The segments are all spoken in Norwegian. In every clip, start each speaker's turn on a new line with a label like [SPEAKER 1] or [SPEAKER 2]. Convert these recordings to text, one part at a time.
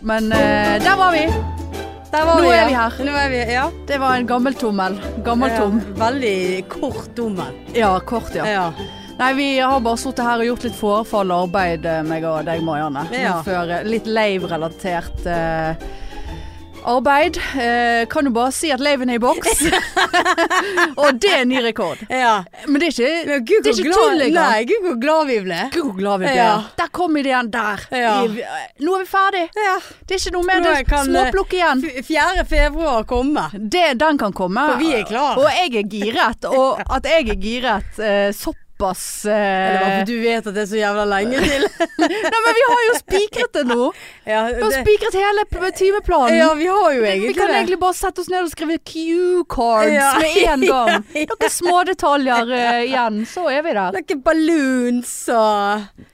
[SPEAKER 1] Men eh, der var vi.
[SPEAKER 2] Der var
[SPEAKER 1] Nå
[SPEAKER 2] vi,
[SPEAKER 1] er
[SPEAKER 2] ja.
[SPEAKER 1] vi her.
[SPEAKER 2] Nå er vi, ja.
[SPEAKER 1] Det var en gammel tommel. Gammel tom.
[SPEAKER 2] Ja, Veldig kort tommel.
[SPEAKER 1] Ja, kort, ja.
[SPEAKER 2] Ja.
[SPEAKER 1] Nei, vi har bare sittet her og gjort litt forfall og arbeid, eh, meg og deg, Marianne.
[SPEAKER 2] Ja.
[SPEAKER 1] Før, eh, litt lave-relatert eh, arbeid. Eh, kan du bare si at laven er i boks? og det er ny rekord.
[SPEAKER 2] ja.
[SPEAKER 1] Men det er ikke,
[SPEAKER 2] Men
[SPEAKER 1] det
[SPEAKER 2] gud
[SPEAKER 1] er
[SPEAKER 2] hvor
[SPEAKER 1] ikke
[SPEAKER 2] glad,
[SPEAKER 1] tull engang.
[SPEAKER 2] nei, gud hvor glad vi ble.
[SPEAKER 1] Gud, hvor glad vi ble.
[SPEAKER 2] Ja.
[SPEAKER 1] Der kom ideen der.
[SPEAKER 2] Ja.
[SPEAKER 1] Vi- Nå er vi ferdig.
[SPEAKER 2] Ja.
[SPEAKER 1] Det er ikke noe mer.
[SPEAKER 2] Nå
[SPEAKER 1] Det er
[SPEAKER 2] kan, eh,
[SPEAKER 1] småplukk igjen. Eh.
[SPEAKER 2] F- 4. februar komme.
[SPEAKER 1] Det, den kan komme.
[SPEAKER 2] For vi er klar.
[SPEAKER 1] Og jeg er giret. Og at jeg er giret eh, såpass
[SPEAKER 2] Eller bare
[SPEAKER 1] eh,
[SPEAKER 2] for du vet at det er så jævla lenge til.
[SPEAKER 1] Nei, men vi har jo spikret det nå.
[SPEAKER 2] ja,
[SPEAKER 1] Vi har
[SPEAKER 2] det,
[SPEAKER 1] spikret hele p- timeplanen.
[SPEAKER 2] ja, vi har jo egentlig
[SPEAKER 1] vi kan
[SPEAKER 2] det.
[SPEAKER 1] egentlig bare sette oss ned og skrive Q-cards
[SPEAKER 2] Ja.
[SPEAKER 1] med en gang.
[SPEAKER 2] Ja, ja.
[SPEAKER 1] Noen smådetaljer uh, igjen, så er vi der.
[SPEAKER 2] Noen balloons og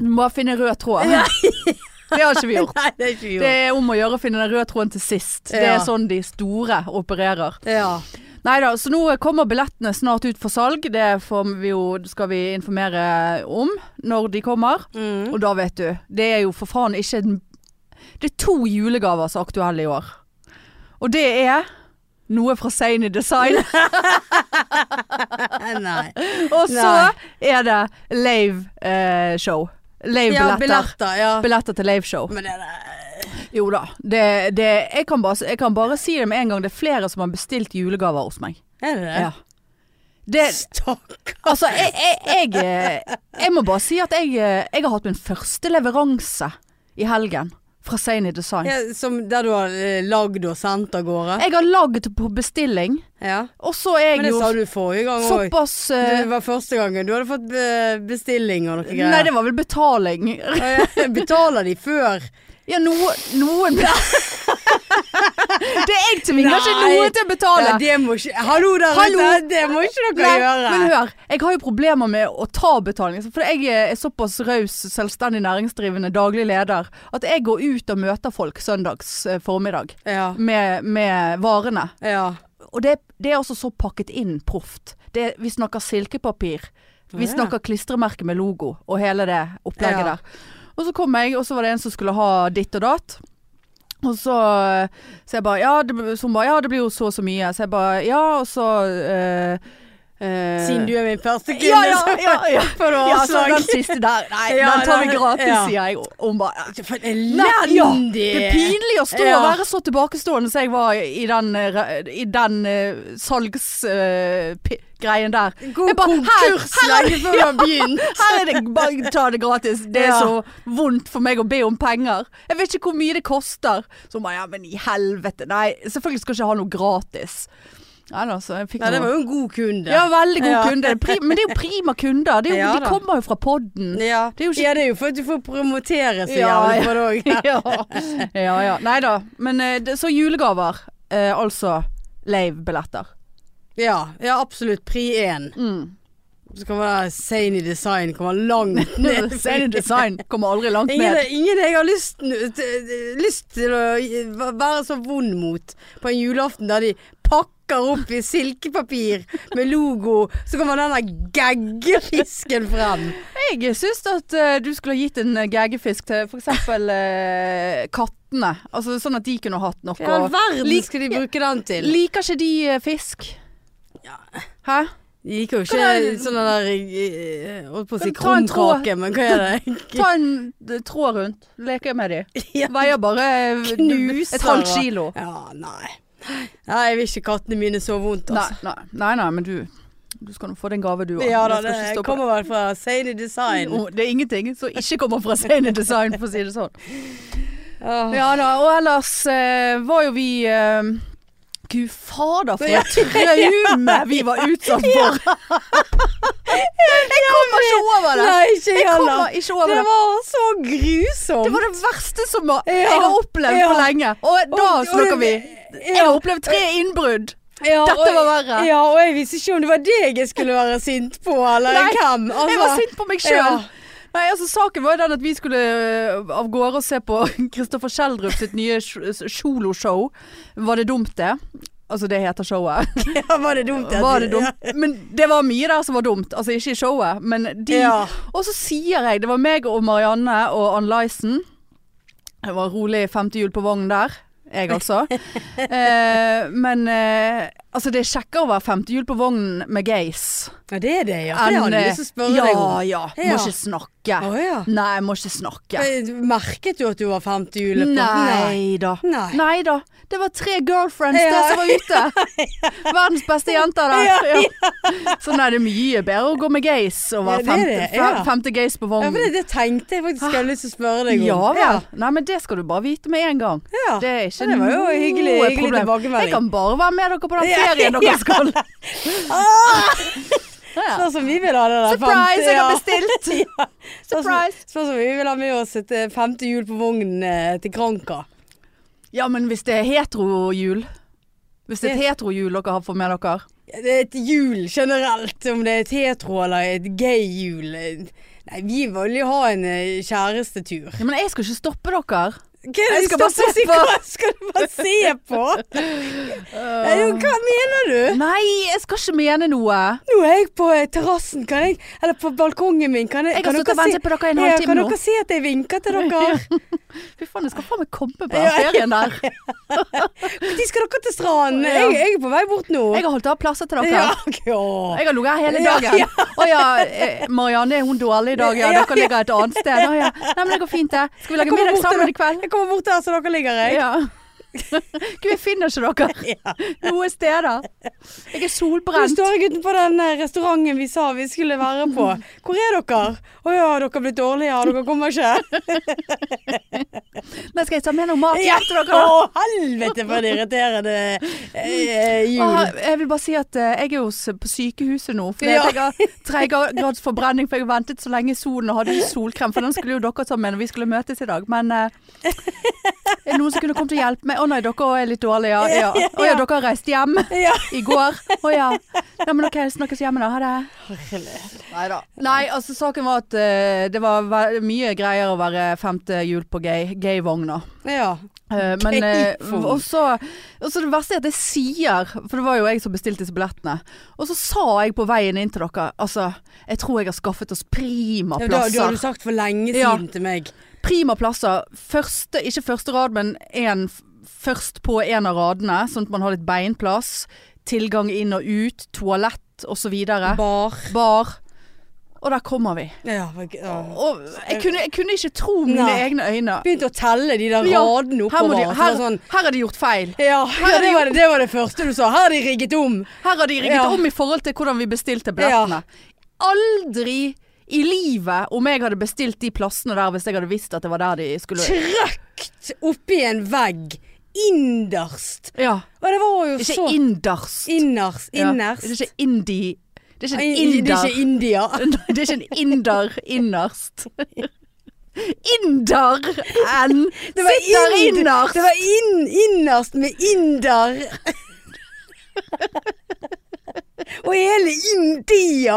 [SPEAKER 1] Du må finne rød tråd. Det har ikke vi gjort.
[SPEAKER 2] Nei, det er ikke vi
[SPEAKER 1] Det
[SPEAKER 2] gjort.
[SPEAKER 1] er om å gjøre å finne den røde tråden til sist. Det
[SPEAKER 2] Ja.
[SPEAKER 1] er sånn de store opererer.
[SPEAKER 2] Ja.
[SPEAKER 1] Nei da, så nå kommer billettene snart ut for salg. Det får vi jo, skal vi informere om når de kommer.
[SPEAKER 2] Mm.
[SPEAKER 1] Og da vet du, det er jo for faen ikke en Det er to julegaver som er aktuelle i år. Og det er noe fra Seine Design.
[SPEAKER 2] Nei.
[SPEAKER 1] Og så
[SPEAKER 2] Nei.
[SPEAKER 1] er det Lave eh, Show. Lave
[SPEAKER 2] Ja, Mm.
[SPEAKER 1] billetter.
[SPEAKER 2] billetter. Ja.
[SPEAKER 1] Billetter til Lave Show.
[SPEAKER 2] Men det er
[SPEAKER 1] Jo da. Det, det, jeg, kan bare, jeg kan bare si det med en gang. Det er flere som har bestilt julegaver hos meg.
[SPEAKER 2] Er det det?
[SPEAKER 1] Ja. Det,
[SPEAKER 2] Stakkar.
[SPEAKER 1] Altså, jeg, jeg, jeg, jeg må bare si at jeg, eh, jeg har hatt min første leveranse i helgen fra Seini Design.
[SPEAKER 2] Ja, som der du har eh, lagd og sendt av gårde?
[SPEAKER 1] Jeg har lagd på bestilling,
[SPEAKER 2] Ja.
[SPEAKER 1] og så er
[SPEAKER 2] Men det
[SPEAKER 1] jeg jo
[SPEAKER 2] sa du forrige gang òg.
[SPEAKER 1] såpass eh,
[SPEAKER 2] Det var første gangen du hadde fått eh, bestilling og noe greier.
[SPEAKER 1] Nei, det var vel betaling.
[SPEAKER 2] Betaler de før?
[SPEAKER 1] Ja, no, noen Det er jeg til min, kanskje
[SPEAKER 2] Nei.
[SPEAKER 1] noen til å betale.
[SPEAKER 2] Ja, det må ikke Hallo der
[SPEAKER 1] Hallo.
[SPEAKER 2] ute! Det må ikke dere
[SPEAKER 1] Nei,
[SPEAKER 2] gjøre.
[SPEAKER 1] Men hør, jeg har jo problemer med å ta betaling. For jeg eh, er såpass raus, selvstendig næringsdrivende, daglig leder, at jeg går ut og møter folk søndags eh, formiddag.
[SPEAKER 2] Ja.
[SPEAKER 1] med, med varene.
[SPEAKER 2] ja.
[SPEAKER 1] Og det, det er også så pakket inn proft. Det, vi snakker silkepapir.
[SPEAKER 2] Å,
[SPEAKER 1] Vi
[SPEAKER 2] ja.
[SPEAKER 1] snakker klistremerke med logo og hele det opplegget
[SPEAKER 2] Ja.
[SPEAKER 1] der. Og så kom jeg, og så var det en som skulle ha ditt og datt. Og så, så jeg bare ja, det, blir- så hun bare ja, det blir jo så og så mye. Så jeg bare ja, og så eh, eh,
[SPEAKER 2] Siden du er min første kunde,
[SPEAKER 1] ja, ja, ja, ja.
[SPEAKER 2] så får du
[SPEAKER 1] ja, så
[SPEAKER 2] avslag.
[SPEAKER 1] den siste der. Nei,
[SPEAKER 2] Ja,
[SPEAKER 1] den tar vi
[SPEAKER 2] den-
[SPEAKER 1] gratis,
[SPEAKER 2] ja.
[SPEAKER 1] sier jeg. Og hun bare
[SPEAKER 2] For en
[SPEAKER 1] Nei,
[SPEAKER 2] elendig!
[SPEAKER 1] ja, det er pinlig å stå
[SPEAKER 2] Ja.
[SPEAKER 1] og være så tilbakestående som jeg var i den, eh, re- i den eh, salgsgreien der.
[SPEAKER 2] God
[SPEAKER 1] Jeg bare, her-
[SPEAKER 2] konkurs
[SPEAKER 1] her er
[SPEAKER 2] lenge før du har begynt.
[SPEAKER 1] Her er det bare ta det gratis. Det er
[SPEAKER 2] Ja.
[SPEAKER 1] så vondt for meg å be om penger. Jeg vet ikke hvor mye det koster. Så hun bare ja, men i helvete. Nei, selvfølgelig skal jeg ikke ha noe gratis. Nei da, så jeg fikk
[SPEAKER 2] Nei, det
[SPEAKER 1] noe-
[SPEAKER 2] var jo en god kunde.
[SPEAKER 1] ja, veldig god
[SPEAKER 2] Ja.
[SPEAKER 1] kunde. Det er pri- Men det er jo prima kunder. Det er jo,
[SPEAKER 2] Ja
[SPEAKER 1] de
[SPEAKER 2] da.
[SPEAKER 1] kommer jo fra podden.
[SPEAKER 2] Ja.
[SPEAKER 1] Det er jo ikke-
[SPEAKER 2] ja, det er jo for at du får promotere
[SPEAKER 1] Ja,
[SPEAKER 2] så
[SPEAKER 1] ja.
[SPEAKER 2] jævlig på det òg.
[SPEAKER 1] ja. ja ja. Nei da. Men eh, det- så julegaver. Eh, altså Lave-billetter.
[SPEAKER 2] Ja, ja, absolutt. Pri én.
[SPEAKER 1] Mm.
[SPEAKER 2] Så kan være Sane Design kommer langt ned.
[SPEAKER 1] Sane design kommer aldri langt
[SPEAKER 2] Ingen,
[SPEAKER 1] ned.
[SPEAKER 2] ingen jeg har lyst, til- lyst til å være så vond mot på en julaften der de pakker opp i silkepapir med logo, så kommer den der gaggefisken frem.
[SPEAKER 1] Jeg syns at eh, du skulle ha gitt en eh, gaggefisk til f.eks. Uh, kattene. Altså Sånn at de kunne hatt noe.
[SPEAKER 2] Hva i all verden
[SPEAKER 1] Lik-
[SPEAKER 2] skal de bruke den til?
[SPEAKER 1] Liker ikke de eh, fisk?
[SPEAKER 2] Ja.
[SPEAKER 1] Hæ?
[SPEAKER 2] De liker jo
[SPEAKER 1] Kan
[SPEAKER 2] ikke
[SPEAKER 1] jeg-
[SPEAKER 2] sånn der eh, Holdt på å si
[SPEAKER 1] Kan ta en tråd?
[SPEAKER 2] krumkake, men hva er det?
[SPEAKER 1] Ta en eh, tråd rundt. Leker med de.
[SPEAKER 2] Ja,
[SPEAKER 1] Veier bare eh,
[SPEAKER 2] Knuser,
[SPEAKER 1] et halvt
[SPEAKER 2] da.
[SPEAKER 1] kilo.
[SPEAKER 2] Ja, nei. Nei, jeg vil ikke kattene mine så vondt,
[SPEAKER 1] Nei,
[SPEAKER 2] altså.
[SPEAKER 1] nei, nei, nei, men du Du skal nå få den gave du har.
[SPEAKER 2] Ja da,
[SPEAKER 1] Jeg skal ikke
[SPEAKER 2] det
[SPEAKER 1] stå på
[SPEAKER 2] kommer vel fra Sane Design.
[SPEAKER 1] Oh, Det er ingenting som ikke kommer fra Seine Design, for å si det sånn. Ja da, og ellers eh, var jo vi eh, Gud fader, for et traume vi var utsatt for! Jeg kommer ikke over det!
[SPEAKER 2] Nei, ikke
[SPEAKER 1] Jeg
[SPEAKER 2] jeg heller.
[SPEAKER 1] kommer ikke over
[SPEAKER 2] Det
[SPEAKER 1] det.
[SPEAKER 2] var så grusomt.
[SPEAKER 1] Det var det verste som var-
[SPEAKER 2] Ja.
[SPEAKER 1] jeg har opplevd på
[SPEAKER 2] Ja.
[SPEAKER 1] lenge. Og da
[SPEAKER 2] Og- og
[SPEAKER 1] snakker vi.
[SPEAKER 2] det-
[SPEAKER 1] Jeg har opplevd tre innbrudd.
[SPEAKER 2] Ja,
[SPEAKER 1] Dette
[SPEAKER 2] og-
[SPEAKER 1] var verre.
[SPEAKER 2] Ja, og jeg visste ikke om det var deg jeg skulle være sint på, eller
[SPEAKER 1] Nei,
[SPEAKER 2] hvem. Altså,
[SPEAKER 1] Jeg var sint på meg sjøl.
[SPEAKER 2] Ja.
[SPEAKER 1] Nei, altså Saken var jo den at vi skulle øh, av gårde og se på Kristoffer Schjelderup sitt nye soloshow. Var det dumt, det? Altså, det heter showet.
[SPEAKER 2] Ja, var det dumt? at-
[SPEAKER 1] Var det dumt? Men det var mye der som var dumt. Altså, ikke i showet, men de
[SPEAKER 2] Ja.
[SPEAKER 1] Og så sier jeg, det var meg og Marianne og Ann Lyson. Det var rolig femte hjul på vogn der. Jeg altså. Eh, men eh, altså det er kjekkere å være femte hjul på vognen med gays.
[SPEAKER 2] Ja, det er det, ja. For det hadde jeg lyst til å spørre
[SPEAKER 1] eh, ja,
[SPEAKER 2] deg om.
[SPEAKER 1] ja. Må
[SPEAKER 2] Ja.
[SPEAKER 1] ikke snakke.
[SPEAKER 2] Å ja.
[SPEAKER 1] Nei, må ikke snakke.
[SPEAKER 2] Men Merket du at du var femte hjulet på?
[SPEAKER 1] Nei da.
[SPEAKER 2] Nei.
[SPEAKER 1] Nei da. Det var tre girlfriends
[SPEAKER 2] Ja.
[SPEAKER 1] der som var ute. Verdens beste jenter der.
[SPEAKER 2] Ja,
[SPEAKER 1] Ja. Så nei, det er mye bedre å gå med gays og
[SPEAKER 2] Ja,
[SPEAKER 1] være
[SPEAKER 2] det er
[SPEAKER 1] femte,
[SPEAKER 2] det, ja.
[SPEAKER 1] fem- femte gays på
[SPEAKER 2] Ja,
[SPEAKER 1] vognen.
[SPEAKER 2] for det, det tenkte jeg faktisk jeg hadde lyst til å spørre deg om.
[SPEAKER 1] Ja vel. Nei, men det skal du bare vite med en gang.
[SPEAKER 2] Ja.
[SPEAKER 1] Det er ikke
[SPEAKER 2] Ja, det var jo hyggelig-
[SPEAKER 1] noe
[SPEAKER 2] hyggelig
[SPEAKER 1] problem.
[SPEAKER 2] tilbakemelding.
[SPEAKER 1] Jeg kan bare være med dere på den
[SPEAKER 2] Ja,
[SPEAKER 1] ferien
[SPEAKER 2] ja. Ah!
[SPEAKER 1] dere skal.
[SPEAKER 2] Ja.
[SPEAKER 1] Ja.
[SPEAKER 2] Sånn som vi vil ha det der
[SPEAKER 1] Surprise, jeg har bestilt!
[SPEAKER 2] ja. Sånn som-
[SPEAKER 1] Surprise.
[SPEAKER 2] Sånn som vi vil ha med oss et eh, femte hjul på vognen eh, til Kranka.
[SPEAKER 1] Ja, men hvis det er heterojul Hvis det er et heterojul dere har fått med dere
[SPEAKER 2] Det er et hjul generelt, om det er et hetero eller et gay-hjul. Nei, vi vil jo ha en eh, kjærestetur.
[SPEAKER 1] Ja, men jeg skal ikke stoppe dere.
[SPEAKER 2] Hva er det
[SPEAKER 1] Jeg
[SPEAKER 2] du
[SPEAKER 1] skal bare
[SPEAKER 2] stopper
[SPEAKER 1] se
[SPEAKER 2] å si?
[SPEAKER 1] på.
[SPEAKER 2] Hva skal du bare se på? Nei, jo, hva mener du?
[SPEAKER 1] Nei, jeg skal ikke mene noe.
[SPEAKER 2] Nå er jeg på eh, terrassen, kan jeg Eller på balkongen min, kan jeg
[SPEAKER 1] Jeg har
[SPEAKER 2] kan
[SPEAKER 1] stått og ventet på dere i en
[SPEAKER 2] Ja,
[SPEAKER 1] halvtime
[SPEAKER 2] Kan
[SPEAKER 1] nå.
[SPEAKER 2] dere se at jeg vinker til dere?
[SPEAKER 1] Fy faen, jeg skal faen meg komme på den ferien der.
[SPEAKER 2] Når skal dere til stranden?
[SPEAKER 1] Ja.
[SPEAKER 2] Jeg, jeg er på vei bort nå.
[SPEAKER 1] Jeg har holdt av plasser til dere.
[SPEAKER 2] Ja, ok, åh.
[SPEAKER 1] Jeg har ligget her hele
[SPEAKER 2] Ja,
[SPEAKER 1] dagen.
[SPEAKER 2] ja.
[SPEAKER 1] Å ja, eh, Marianne, er hun dårlig i dag? Ja,
[SPEAKER 2] Ja,
[SPEAKER 1] dere ligger et annet sted. Å ja. Nei, men det går fint, det. Skal vi
[SPEAKER 2] Jeg
[SPEAKER 1] lage
[SPEAKER 2] kommer
[SPEAKER 1] middag
[SPEAKER 2] bort til
[SPEAKER 1] sammen
[SPEAKER 2] deg.
[SPEAKER 1] i kveld?
[SPEAKER 2] Jeg kommer bort der så dere ligger, jeg.
[SPEAKER 1] Ja. Gud, jeg finner ikke dere
[SPEAKER 2] Ja.
[SPEAKER 1] noe steder. Jeg er
[SPEAKER 2] Nå
[SPEAKER 1] solbrent.
[SPEAKER 2] står jeg utenfor den eh, restauranten vi sa vi skulle være på. Hvor er dere? Å ja, dere har blitt dårlige, dere kommer ikke.
[SPEAKER 1] Men skal jeg ta med noe mat
[SPEAKER 2] Ja,
[SPEAKER 1] hjem til dere?
[SPEAKER 2] Å,
[SPEAKER 1] da?
[SPEAKER 2] helvete for en irriterende eh, eh,
[SPEAKER 1] Å,
[SPEAKER 2] jul.
[SPEAKER 1] jeg vil bare si at eh, jeg er jo s- på sykehuset nå, fordi
[SPEAKER 2] Ja.
[SPEAKER 1] at jeg har tredjegrads forbrenning. For jeg har ventet så lenge i solen og hadde ikke solkrem, for den skulle jo dere ta med når vi skulle møtes i dag. Men eh, er det noen som kunne kommet og hjulpet meg? Å nei, dere også er litt dårlige. Ja. Ja. Å ja, dere har reist hjem
[SPEAKER 2] Ja.
[SPEAKER 1] i går. Å ja. Nei, men OK, snakkes hjemme da. Ha det. Nei da. Nei, altså saken var at eh, det var ve- mye greier å være femte hjul på gay- gay-vogna.
[SPEAKER 2] ja.
[SPEAKER 1] Eh, Men eh,
[SPEAKER 2] Gay-vogn.
[SPEAKER 1] og så og så det verste er at jeg sier For det var jo jeg som bestilte disse billettene. Og så sa jeg på veien inn til dere Altså, jeg tror jeg har skaffet oss prima
[SPEAKER 2] Da, da har
[SPEAKER 1] plasser.
[SPEAKER 2] du sagt for lenge siden
[SPEAKER 1] Ja.
[SPEAKER 2] til meg.
[SPEAKER 1] Prima plasser. Første, ikke første rad, men en, f- først på en av radene, sånn at man har litt beinplass. Tilgang inn og ut. Toalett osv.
[SPEAKER 2] Bar.
[SPEAKER 1] Bar. Og der kommer vi.
[SPEAKER 2] Ja, ok, ja.
[SPEAKER 1] Og jeg kunne, jeg kunne ikke tro mine
[SPEAKER 2] Eh, Nei.
[SPEAKER 1] egne øyne.
[SPEAKER 2] Begynte å telle de der
[SPEAKER 1] Ja,
[SPEAKER 2] radene
[SPEAKER 1] Her, må de,
[SPEAKER 2] oppover. så
[SPEAKER 1] her,
[SPEAKER 2] var sånn,
[SPEAKER 1] her er de gjort feil.
[SPEAKER 2] ja, ja
[SPEAKER 1] er
[SPEAKER 2] det,
[SPEAKER 1] det
[SPEAKER 2] var det, det var det første du sa. Her har de rigget om.
[SPEAKER 1] Her har de rigget
[SPEAKER 2] Ja.
[SPEAKER 1] om i forhold til hvordan vi bestilte billettene. Aldri i livet om jeg hadde bestilt de plassene der hvis jeg hadde visst at det var der de skulle
[SPEAKER 2] Trøkt oppi en vegg. Innerst.
[SPEAKER 1] Ja.
[SPEAKER 2] Og det var jo
[SPEAKER 1] Ikke
[SPEAKER 2] så
[SPEAKER 1] innerst.
[SPEAKER 2] Innerst.
[SPEAKER 1] Ja.
[SPEAKER 2] Innerst.
[SPEAKER 1] Det er ikke indi... Det er ikke en
[SPEAKER 2] Nei, Det
[SPEAKER 1] inder.
[SPEAKER 2] er ikke India.
[SPEAKER 1] Nei, Det er ikke en inder innerst. Inder enn sitter
[SPEAKER 2] ind-
[SPEAKER 1] innerst.
[SPEAKER 2] Det var inn, innerst med inder. Og hele India.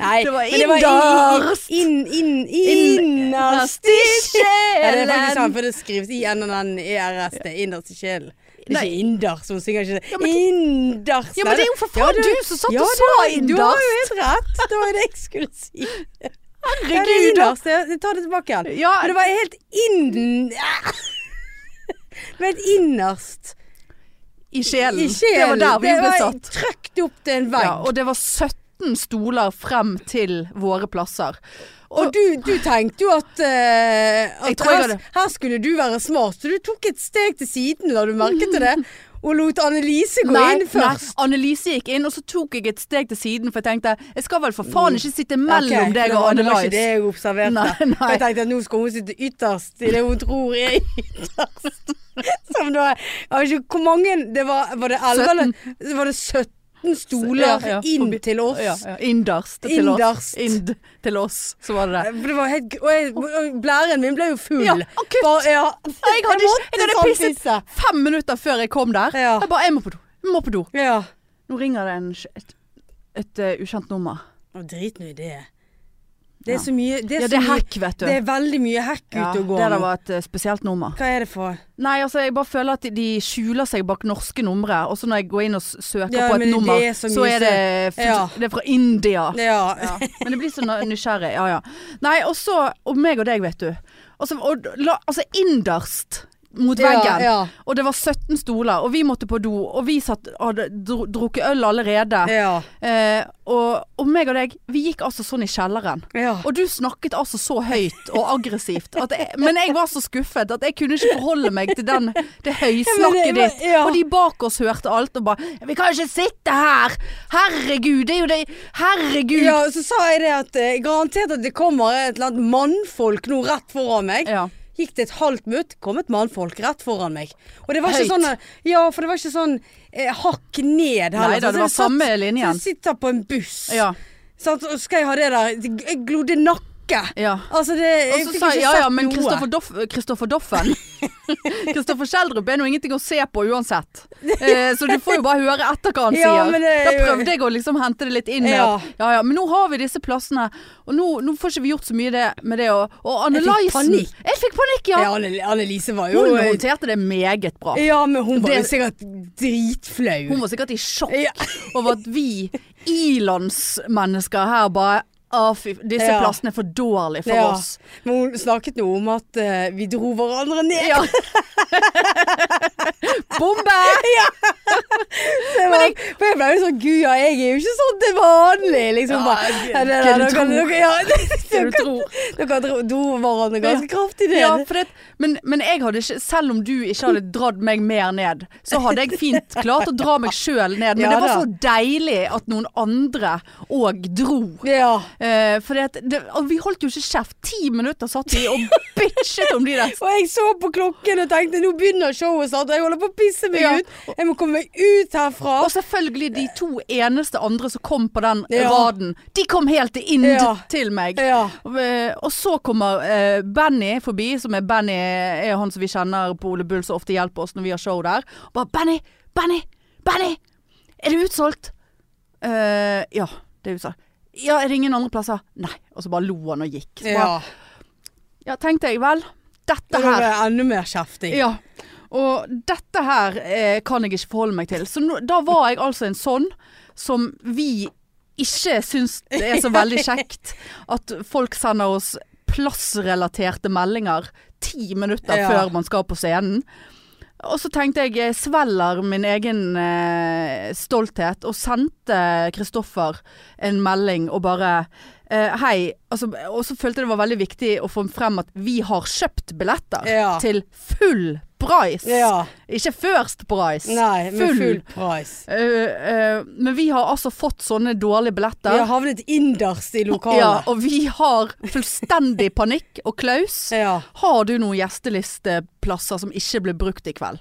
[SPEAKER 2] Nei,
[SPEAKER 1] Det var
[SPEAKER 2] men
[SPEAKER 1] inderst.
[SPEAKER 2] inn, inn, inn,
[SPEAKER 1] Inn-
[SPEAKER 2] innerst i sjelen. Ja, det er faktisk sant,
[SPEAKER 1] sjelen.
[SPEAKER 2] for det skrives i NNN-ERS, E det er innerst i sjelen. Det er
[SPEAKER 1] Nei.
[SPEAKER 2] ikke inder, så hun synger ikke
[SPEAKER 1] Ja,
[SPEAKER 2] det.
[SPEAKER 1] men det-
[SPEAKER 2] Inderst.
[SPEAKER 1] Ja, men det er jo for faen
[SPEAKER 2] Ja,
[SPEAKER 1] du som satt og
[SPEAKER 2] det
[SPEAKER 1] sa
[SPEAKER 2] var- Du har jo
[SPEAKER 1] inderst.
[SPEAKER 2] helt rett. Det var det jeg skulle si. Ja, det er
[SPEAKER 1] Herregud. da.
[SPEAKER 2] innerst. Jeg tar det tilbake igjen.
[SPEAKER 1] Ja,
[SPEAKER 2] Men det var helt inn... Men innerst
[SPEAKER 1] i sjelen.
[SPEAKER 2] i
[SPEAKER 1] Det
[SPEAKER 2] sjelen.
[SPEAKER 1] var der vi
[SPEAKER 2] Det
[SPEAKER 1] ble
[SPEAKER 2] var
[SPEAKER 1] satt.
[SPEAKER 2] Trøkt opp til en vegg.
[SPEAKER 1] Ja, og det var 17 stoler frem til våre plasser.
[SPEAKER 2] og
[SPEAKER 1] Og
[SPEAKER 2] du, du tenkte jo at, eh,
[SPEAKER 1] Jeg
[SPEAKER 2] at
[SPEAKER 1] tror jeg
[SPEAKER 2] her,
[SPEAKER 1] hadde-
[SPEAKER 2] her skulle du være smart, så du tok et steg til siden, la du merke til det? Og lot Annelise gå inn først.
[SPEAKER 1] Annelise gikk inn, og så tok jeg et steg til siden, for jeg tenkte jeg skal vel for faen ikke sitte mellom
[SPEAKER 2] Mm.
[SPEAKER 1] deg
[SPEAKER 2] Ok, det
[SPEAKER 1] og
[SPEAKER 2] var- Det var ikke det
[SPEAKER 1] Annelise.
[SPEAKER 2] jeg observerte.
[SPEAKER 1] Nei, nei.
[SPEAKER 2] Jeg tenkte at nå skal hun sitte ytterst i det hun tror er ytterst. Som da jeg vet ikke, Hvor mange det var, var det 11 eller var det 17 stoler
[SPEAKER 1] Ja, ja,
[SPEAKER 2] inn
[SPEAKER 1] forbi-
[SPEAKER 2] til oss?
[SPEAKER 1] Ja, ja. Inderst til
[SPEAKER 2] Inderst.
[SPEAKER 1] oss. Ind til oss, så var det det.
[SPEAKER 2] For det var helt, og jeg, og blæren min ble jo full.
[SPEAKER 1] Ja, akutt.
[SPEAKER 2] Bare, ja. sånn
[SPEAKER 1] Jeg hadde, ikke- jeg hadde
[SPEAKER 2] måtte
[SPEAKER 1] pisset
[SPEAKER 2] samtisse.
[SPEAKER 1] fem minutter før jeg kom der.
[SPEAKER 2] Ja.
[SPEAKER 1] Jeg bare jeg må på do. Jeg må på do.
[SPEAKER 2] Ja.
[SPEAKER 1] Nå ringer det en, et, et, eh, ukjent nummer.
[SPEAKER 2] Å, drit nå i det. Det
[SPEAKER 1] Ja.
[SPEAKER 2] er så mye Det er,
[SPEAKER 1] Ja, det er
[SPEAKER 2] så mye-
[SPEAKER 1] hack, vet du.
[SPEAKER 2] Det er veldig mye hack
[SPEAKER 1] Ja,
[SPEAKER 2] ute
[SPEAKER 1] det
[SPEAKER 2] og går
[SPEAKER 1] der
[SPEAKER 2] nå.
[SPEAKER 1] var et eh, spesielt nummer.
[SPEAKER 2] Hva er det for?
[SPEAKER 1] Nei, altså jeg bare føler at de- de skjuler seg bak norske numre, og så når jeg går inn og s- søker
[SPEAKER 2] Ja,
[SPEAKER 1] på et
[SPEAKER 2] men det
[SPEAKER 1] nummer,
[SPEAKER 2] er så
[SPEAKER 1] så,
[SPEAKER 2] mye
[SPEAKER 1] er det,
[SPEAKER 2] sø- Ja.
[SPEAKER 1] det er fra India.
[SPEAKER 2] Ja.
[SPEAKER 1] Ja. Men det blir så na- nysgjerrig. Ja ja. Nei, og så Og meg og deg, vet du. Og så, og, la, altså innerst mot veggen.
[SPEAKER 2] Ja,
[SPEAKER 1] Og det var 17 stoler, og vi måtte på do. Og vi satt, hadde dro, drukket øl allerede.
[SPEAKER 2] ja, ja.
[SPEAKER 1] Eh, og, og meg og deg, vi gikk altså sånn i kjelleren.
[SPEAKER 2] ja.
[SPEAKER 1] Og du snakket altså så høyt og aggressivt. At jeg, men jeg var så skuffet at jeg kunne ikke forholde meg til den, det høysnakket
[SPEAKER 2] Ja, men det-
[SPEAKER 1] ditt.
[SPEAKER 2] ja.
[SPEAKER 1] Og de bak oss hørte alt og bare 'Vi kan ikke sitte her! Herregud, det er jo det Herregud!'
[SPEAKER 2] Ja, så sa jeg det at eh, garantert at det kommer et eller annet mannfolk nå rett foran meg.
[SPEAKER 1] Ja.
[SPEAKER 2] Gikk det et halvt minutt, kom et mannfolk rett foran meg. Og det var ikke
[SPEAKER 1] Høyt.
[SPEAKER 2] sånn eh, Ja, for det var ikke sånn eh, hakk ned heller.
[SPEAKER 1] Nei da,
[SPEAKER 2] Så
[SPEAKER 1] det var
[SPEAKER 2] jeg satt-
[SPEAKER 1] samme linjen.
[SPEAKER 2] så Jeg sitter på en buss,
[SPEAKER 1] Ja.
[SPEAKER 2] sant, og skal jeg ha det der Jeg glodde nakke.
[SPEAKER 1] ja.
[SPEAKER 2] Altså, det Jeg
[SPEAKER 1] Og så
[SPEAKER 2] fikk
[SPEAKER 1] sa
[SPEAKER 2] ikke
[SPEAKER 1] jeg ja
[SPEAKER 2] sett
[SPEAKER 1] ja, men
[SPEAKER 2] noe.
[SPEAKER 1] Kristoffer Doff, Kristoffer Doffen Kristoffer Schjelderup er nå ingenting å se på uansett. Eh, så du får jo bare høre etter hva han
[SPEAKER 2] Ja,
[SPEAKER 1] sier.
[SPEAKER 2] men det
[SPEAKER 1] da
[SPEAKER 2] er jo-
[SPEAKER 1] prøvde jeg å liksom hente det litt inn med
[SPEAKER 2] Ja.
[SPEAKER 1] at ja ja, men nå har vi disse plassene, og nå, nå får ikke vi gjort så mye det, med det. Og, og Anne
[SPEAKER 2] Jeg fikk
[SPEAKER 1] Lysen
[SPEAKER 2] panikk.
[SPEAKER 1] Jeg fikk panikk, ja.
[SPEAKER 2] Ja, Anne- Annelise var jo
[SPEAKER 1] Hun håndterte det meget bra.
[SPEAKER 2] Ja, men hun var
[SPEAKER 1] Det-
[SPEAKER 2] jo sikkert dritflau.
[SPEAKER 1] Hun var sikkert i sjokk
[SPEAKER 2] Ja.
[SPEAKER 1] over at vi ilandsmennesker her bare Å, fy Disse
[SPEAKER 2] Ja.
[SPEAKER 1] plassene er for dårlige for
[SPEAKER 2] Ja.
[SPEAKER 1] oss.
[SPEAKER 2] Men hun snakket noe om at eh, vi dro hverandre ned.
[SPEAKER 1] Ja. Bombe!
[SPEAKER 2] Det var, for jeg ble jo sånn Gud, ja, jeg er jo ikke sånn til vanlig, liksom.
[SPEAKER 1] Ja,
[SPEAKER 2] bare,
[SPEAKER 1] det-
[SPEAKER 2] ja, det,
[SPEAKER 1] hva
[SPEAKER 2] der,
[SPEAKER 1] du
[SPEAKER 2] dere,
[SPEAKER 1] tror.
[SPEAKER 2] dere, ja,
[SPEAKER 1] Det du
[SPEAKER 2] dere,
[SPEAKER 1] tror.
[SPEAKER 2] dere dro, dro hverandre ganske kraftig ned.
[SPEAKER 1] Ja, for det, men, men jeg hadde ikke Selv om du ikke hadde dratt meg mer ned, så hadde jeg fint klart å dra meg sjøl ned. Men
[SPEAKER 2] Ja
[SPEAKER 1] det var
[SPEAKER 2] da.
[SPEAKER 1] så deilig at noen andre òg dro.
[SPEAKER 2] Ja.
[SPEAKER 1] Eh, for det, det, og vi holdt jo ikke kjeft. Ti minutter satt vi og bitchet om de der
[SPEAKER 2] Og jeg så på klokken og tenkte nå begynner showet snart, og jeg holder på å pisse meg
[SPEAKER 1] Ja.
[SPEAKER 2] ut. Jeg må komme meg ut herfra.
[SPEAKER 1] Og selvfølgelig de to eneste andre som kom på den
[SPEAKER 2] Ja.
[SPEAKER 1] raden. De kom helt inn
[SPEAKER 2] Ja.
[SPEAKER 1] til meg.
[SPEAKER 2] Ja.
[SPEAKER 1] Og, eh, Og så kommer eh, Benny forbi, som er Benny er han som vi kjenner på Ole Bull, som ofte hjelper oss når vi har show der. Og bare 'Benny! Benny! Benny! Er det utsolgt?' Eh, ja, det er utsolgt. Ja, er det ingen andre plasser? Nei. Og så bare lo han og gikk. Så bare,
[SPEAKER 2] Ja.
[SPEAKER 1] ja, tenkte jeg vel. Dette
[SPEAKER 2] Det
[SPEAKER 1] her
[SPEAKER 2] her er enda mer kjefting.
[SPEAKER 1] ja. Og dette her eh, kan jeg ikke forholde meg til. Så nå, da var jeg altså en sånn som vi ikke syns det er så veldig kjekt at folk sender oss plassrelaterte meldinger ti minutter
[SPEAKER 2] Ja.
[SPEAKER 1] før man skal på scenen. Og så tenkte jeg jeg svelger min egen eh, stolthet og sendte Kristoffer en melding og bare eh, Hei. Altså, og så følte jeg det var veldig viktig å få frem at vi har kjøpt billetter
[SPEAKER 2] Ja.
[SPEAKER 1] til full price.
[SPEAKER 2] Ja.
[SPEAKER 1] Ikke first price.
[SPEAKER 2] Nei, med
[SPEAKER 1] Full.
[SPEAKER 2] full price.
[SPEAKER 1] Eh, eh, men vi har altså fått sånne dårlige
[SPEAKER 2] Vi
[SPEAKER 1] billetter.
[SPEAKER 2] har havnet innerst i
[SPEAKER 1] Ja,
[SPEAKER 2] lokalet.
[SPEAKER 1] og vi har fullstendig panikk. Og Klaus,
[SPEAKER 2] Ja.
[SPEAKER 1] har du noen gjestelisteplasser som ikke ble brukt i kveld?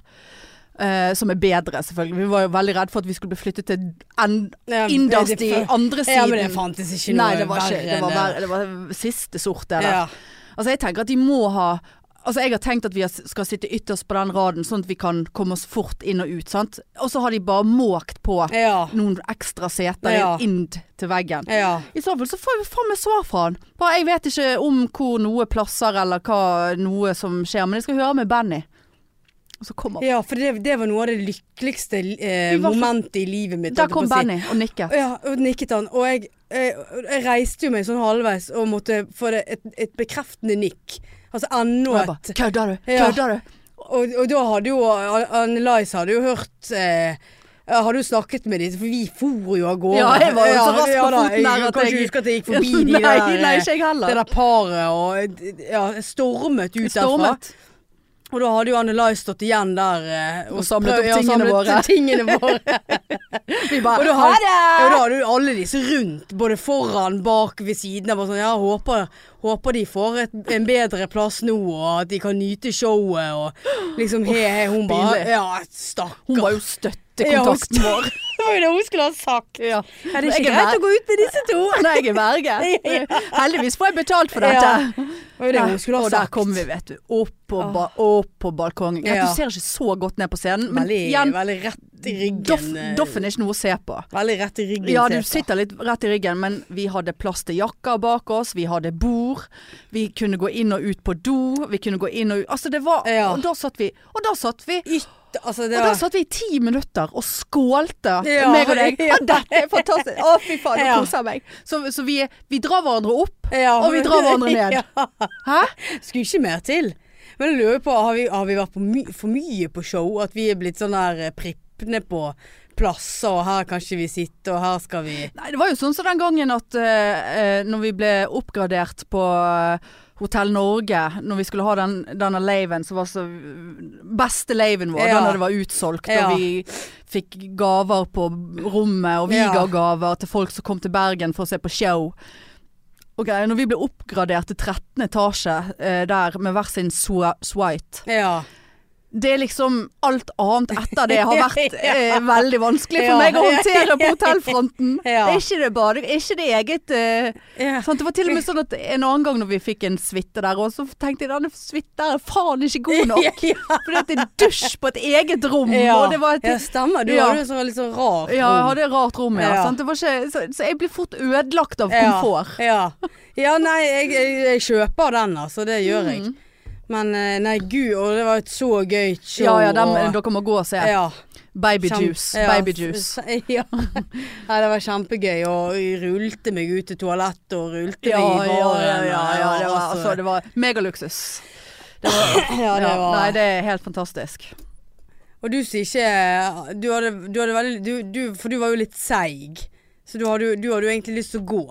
[SPEAKER 1] Eh, som er bedre, selvfølgelig. Vi var jo veldig redd for at vi skulle bli flyttet til en-
[SPEAKER 2] Ja, men
[SPEAKER 1] innerst
[SPEAKER 2] det-
[SPEAKER 1] i andre siden.
[SPEAKER 2] Ja, men det fantes ikke noe
[SPEAKER 1] Nei, det var ikke. Det var,
[SPEAKER 2] enn
[SPEAKER 1] verre- det var siste sort, det der.
[SPEAKER 2] Ja.
[SPEAKER 1] Altså jeg tenker at de må ha Altså jeg har tenkt at vi har- skal sitte ytterst på den raden Sånn at vi kan komme oss fort inn og ut sant? Og så har de bare måkt på
[SPEAKER 2] Ja.
[SPEAKER 1] Noen ekstra seter
[SPEAKER 2] Ja.
[SPEAKER 1] inn til veggen
[SPEAKER 2] ja.
[SPEAKER 1] I så fall så får vi faen meg svar fra han bare, Jeg vet ikke om hvor noe plasser Eller hva, noe som skjer Men jeg skal høre med Benny Og så kommer
[SPEAKER 2] Ja, for det, det var noe av det lykkeligste eh,
[SPEAKER 1] Vi var så-
[SPEAKER 2] momentet i livet mitt.
[SPEAKER 1] Der
[SPEAKER 2] holdt jeg på
[SPEAKER 1] kom
[SPEAKER 2] å si.
[SPEAKER 1] Benny og nikket
[SPEAKER 2] Ja, og nikket han. Og jeg, eh, jeg reiste jo meg sånn halvveis og måtte få det et, et bekreftende nikk. Altså
[SPEAKER 1] Og
[SPEAKER 2] enda
[SPEAKER 1] jeg bare,
[SPEAKER 2] et.
[SPEAKER 1] kødder du,
[SPEAKER 2] Ja.
[SPEAKER 1] kødder du
[SPEAKER 2] Og, og da hadde jo Annelise hadde jo hørt eh, jeg hadde jo snakket med dem, for vi for jo av gårde.
[SPEAKER 1] Ja, jeg var jo så rask på foten
[SPEAKER 2] da,
[SPEAKER 1] her
[SPEAKER 2] Jeg
[SPEAKER 1] at
[SPEAKER 2] kan
[SPEAKER 1] jeg-
[SPEAKER 2] ikke huske at jeg gikk forbi de
[SPEAKER 1] Nei,
[SPEAKER 2] der,
[SPEAKER 1] nei,
[SPEAKER 2] eh,
[SPEAKER 1] ikke jeg heller
[SPEAKER 2] det der paret og ja, jeg stormet ut derfra.
[SPEAKER 1] Stormet
[SPEAKER 2] Og da hadde jo Anne Lai stått igjen der eh,
[SPEAKER 1] Og samlet opp
[SPEAKER 2] prøv- ja,
[SPEAKER 1] tingene
[SPEAKER 2] samlet
[SPEAKER 1] våre.
[SPEAKER 2] tingene våre.
[SPEAKER 1] Vi bare,
[SPEAKER 2] Og da
[SPEAKER 1] ha
[SPEAKER 2] hadde- Ja, da
[SPEAKER 1] det
[SPEAKER 2] hadde jo alle disse rundt, både foran, bak, ved siden av. og Sånn, ja, håper, håper de får et, en bedre plass nå, og at de kan nyte showet. Og liksom he, he, hun bare
[SPEAKER 1] pinlig.
[SPEAKER 2] Ja, stakkar.
[SPEAKER 1] Hun var jo støttekontakten vår
[SPEAKER 2] Det var jo det hun skulle ha sagt.
[SPEAKER 1] Ja.
[SPEAKER 2] Ja, det er
[SPEAKER 1] Jeg
[SPEAKER 2] ikke
[SPEAKER 1] er
[SPEAKER 2] greit
[SPEAKER 1] ver-
[SPEAKER 2] å gå ut med disse to.
[SPEAKER 1] Nei, jeg er verge. Heldigvis får jeg betalt for dette.
[SPEAKER 2] Ja, Det var jo det hun skulle ha
[SPEAKER 1] og der
[SPEAKER 2] sagt.
[SPEAKER 1] kom vi, vet du. Opp på, ba opp på balkongen. Greit,
[SPEAKER 2] Ja.
[SPEAKER 1] Du ser ikke så godt ned på scenen, men
[SPEAKER 2] Veldig,
[SPEAKER 1] igjen,
[SPEAKER 2] veldig rett i ryggen.
[SPEAKER 1] doff,
[SPEAKER 2] eh,
[SPEAKER 1] doffen er ikke noe å se på.
[SPEAKER 2] Veldig rett i ryggen.
[SPEAKER 1] Ja, du
[SPEAKER 2] Tete.
[SPEAKER 1] sitter litt rett i ryggen, men vi hadde plass til jakker bak oss, vi hadde bord, vi kunne gå inn og ut på do, vi kunne gå inn og ut Altså, det var
[SPEAKER 2] Ja.
[SPEAKER 1] Og da satt vi, og da satt vi
[SPEAKER 2] Altså, det
[SPEAKER 1] Og da
[SPEAKER 2] var
[SPEAKER 1] satt vi i ti minutter og skålte,
[SPEAKER 2] Ja.
[SPEAKER 1] meg og deg.
[SPEAKER 2] Ja.
[SPEAKER 1] Ja, dette er fantastisk! Å, fy faen, nå
[SPEAKER 2] Ja.
[SPEAKER 1] koser jeg meg. Så, så vi, vi drar hverandre opp.
[SPEAKER 2] ja.
[SPEAKER 1] Og vi drar hverandre ned.
[SPEAKER 2] Ja.
[SPEAKER 1] Hæ?
[SPEAKER 2] Skulle ikke mer til. Men jeg lurer på, har vi, har vi vært på my for mye på show? At vi er blitt sånn der eh, prippende på plasser, og her kan ikke vi sitte, og her skal vi
[SPEAKER 1] Nei, det var jo sånn som den gangen at eh, eh, når vi ble oppgradert på Hotell Norge, når vi skulle ha den, denne laven som var så beste laven vår,
[SPEAKER 2] Ja.
[SPEAKER 1] den da det var utsolgt,
[SPEAKER 2] Ja.
[SPEAKER 1] og vi fikk gaver på rommet, og vi
[SPEAKER 2] Ja.
[SPEAKER 1] ga gaver til folk som kom til Bergen for å se på show. Ok, når vi ble oppgradert til 13. etasje eh, der med hver sin swa- swipe
[SPEAKER 2] Ja.
[SPEAKER 1] det er liksom alt annet etter det har vært
[SPEAKER 2] Ja.
[SPEAKER 1] eh, veldig vanskelig for
[SPEAKER 2] Ja.
[SPEAKER 1] meg å håndtere på hotellfronten.
[SPEAKER 2] Ja.
[SPEAKER 1] Det er ikke det bare, det er ikke det eget eh,
[SPEAKER 2] ja.
[SPEAKER 1] sant? Det var til og med sånn at en annen gang når vi fikk en suite der òg, så tenkte jeg denne suiten der er faen ikke god nok. Fordi at det er dusj på et eget rom, og det var et
[SPEAKER 2] ja, stemmer. Du
[SPEAKER 1] Ja.
[SPEAKER 2] var jo sånn litt sånn rar.
[SPEAKER 1] ja, jeg hadde et rart rom, ja.
[SPEAKER 2] Ja.
[SPEAKER 1] Sant? Det var ikke, så, så jeg blir fort ødelagt av
[SPEAKER 2] Ja,
[SPEAKER 1] sånn komfort.
[SPEAKER 2] Ja, ja nei, jeg, jeg, jeg kjøper den, altså. Det gjør
[SPEAKER 1] Mm.
[SPEAKER 2] jeg. Men eh, nei, gud, og det var et så gøy show.
[SPEAKER 1] Ja ja, dem,
[SPEAKER 2] og-
[SPEAKER 1] dere må gå og se.
[SPEAKER 2] ja. Kjempe-
[SPEAKER 1] Babyjuice.
[SPEAKER 2] ja,
[SPEAKER 1] Babyjuice.
[SPEAKER 2] s- s- Ja. Nei, det var kjempegøy, og jeg rulte meg ut til toalettet og rulte
[SPEAKER 1] Ja,
[SPEAKER 2] meg i
[SPEAKER 1] ja,
[SPEAKER 2] baren.
[SPEAKER 1] ja, ja, ja, det var,
[SPEAKER 2] og-
[SPEAKER 1] altså, det var megaluksus.
[SPEAKER 2] ja, det
[SPEAKER 1] Ja,
[SPEAKER 2] var.
[SPEAKER 1] nei, det er helt fantastisk.
[SPEAKER 2] Og du som ikke Du hadde, du hadde veldig du, du, For du var jo litt seig. Så du hadde, du hadde jo egentlig lyst til å gå.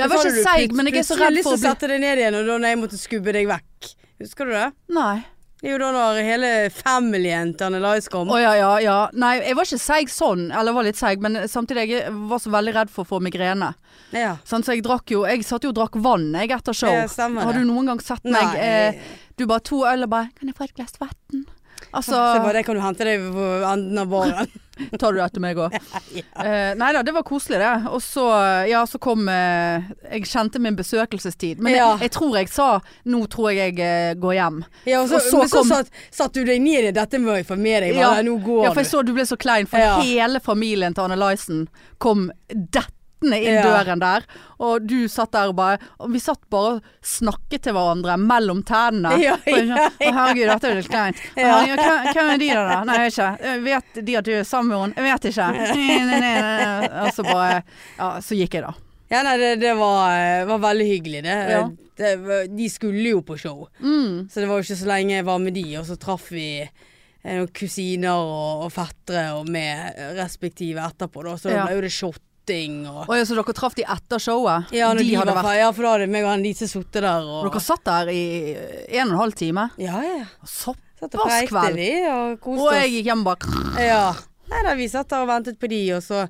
[SPEAKER 1] jeg
[SPEAKER 2] Men så
[SPEAKER 1] var
[SPEAKER 2] hadde
[SPEAKER 1] ikke
[SPEAKER 2] du
[SPEAKER 1] seig,
[SPEAKER 2] plut-
[SPEAKER 1] men jeg er så
[SPEAKER 2] plutselig
[SPEAKER 1] redd
[SPEAKER 2] lyst
[SPEAKER 1] for å
[SPEAKER 2] til å
[SPEAKER 1] bli
[SPEAKER 2] sette deg ned igjen, og da når jeg måtte skubbe deg vekk. Husker du det?
[SPEAKER 1] Nei.
[SPEAKER 2] Det er jo da når hele familyen til Annelise kom.
[SPEAKER 1] Å ja, ja, ja. Nei, jeg var ikke seig sånn. Eller jeg var litt seig, men samtidig jeg var så veldig redd for å få migrene.
[SPEAKER 2] Ja.
[SPEAKER 1] Sant, så jeg drakk jo Jeg satt jo og drakk vann jeg etter show.
[SPEAKER 2] Ja, stemmer det.
[SPEAKER 1] Har du noen gang sett meg
[SPEAKER 2] Nei.
[SPEAKER 1] eh, Du bare to øl og bare 'Kan jeg få et glass vann?' Altså
[SPEAKER 2] Så bare det kan du hente deg på enden av baren.
[SPEAKER 1] Tar du det etter meg òg? Eh, nei da, det var koselig det. Og så, ja, så kom eh, Jeg kjente min besøkelsestid. Men
[SPEAKER 2] Ja.
[SPEAKER 1] jeg, jeg tror jeg sa 'Nå tror jeg jeg eh, går hjem'.
[SPEAKER 2] Ja, og så,
[SPEAKER 1] Og så
[SPEAKER 2] men så
[SPEAKER 1] kom-
[SPEAKER 2] satt, satt du deg ned i dette må jeg få med deg.
[SPEAKER 1] Ja.
[SPEAKER 2] Ja. Nå går
[SPEAKER 1] Ja, for jeg
[SPEAKER 2] du.
[SPEAKER 1] så du ble så klein, for
[SPEAKER 2] Ja.
[SPEAKER 1] hele familien til Annelisen kom dettende inn
[SPEAKER 2] Ja.
[SPEAKER 1] døren der. Og du satt der og bare og Vi satt bare og snakket til hverandre mellom tennene.
[SPEAKER 2] Ja,
[SPEAKER 1] Og jeg
[SPEAKER 2] ja,
[SPEAKER 1] sånn, Å herregud, dette er jo litt kleint. Å,
[SPEAKER 2] Ja.
[SPEAKER 1] herregud, hvem- Hvem er de der, da? Nei, jeg vet ikke. Jeg vet de at du er sammen med henne? Jeg vet ikke. Nei, nei, nei, nei. Og så bare Ja, så gikk jeg, da.
[SPEAKER 2] Ja, nei, det, det var, eh, var veldig hyggelig, det.
[SPEAKER 1] Ja.
[SPEAKER 2] det. var- De skulle jo på show,
[SPEAKER 1] Mm.
[SPEAKER 2] så det var jo ikke så lenge jeg var med de. Og så traff vi eh, noen kusiner og, og fettere og med respektive etterpå, da. Så
[SPEAKER 1] Ja.
[SPEAKER 2] da ble jo det shotting og
[SPEAKER 1] Og ja, så dere traff de etter showet?
[SPEAKER 2] ja, når
[SPEAKER 1] de,
[SPEAKER 2] de
[SPEAKER 1] hadde
[SPEAKER 2] var,
[SPEAKER 1] vært
[SPEAKER 2] vært Ja, for da hadde meg og han Lise sittet der og
[SPEAKER 1] Dere satt der i en og en halv time.
[SPEAKER 2] Ja, ja. Satt og
[SPEAKER 1] Såpass
[SPEAKER 2] preikte
[SPEAKER 1] kveld.
[SPEAKER 2] vi og koste
[SPEAKER 1] Og
[SPEAKER 2] oss.
[SPEAKER 1] jeg gikk hjem bak.
[SPEAKER 2] Ja. Nei da, vi satt der og ventet på de, og så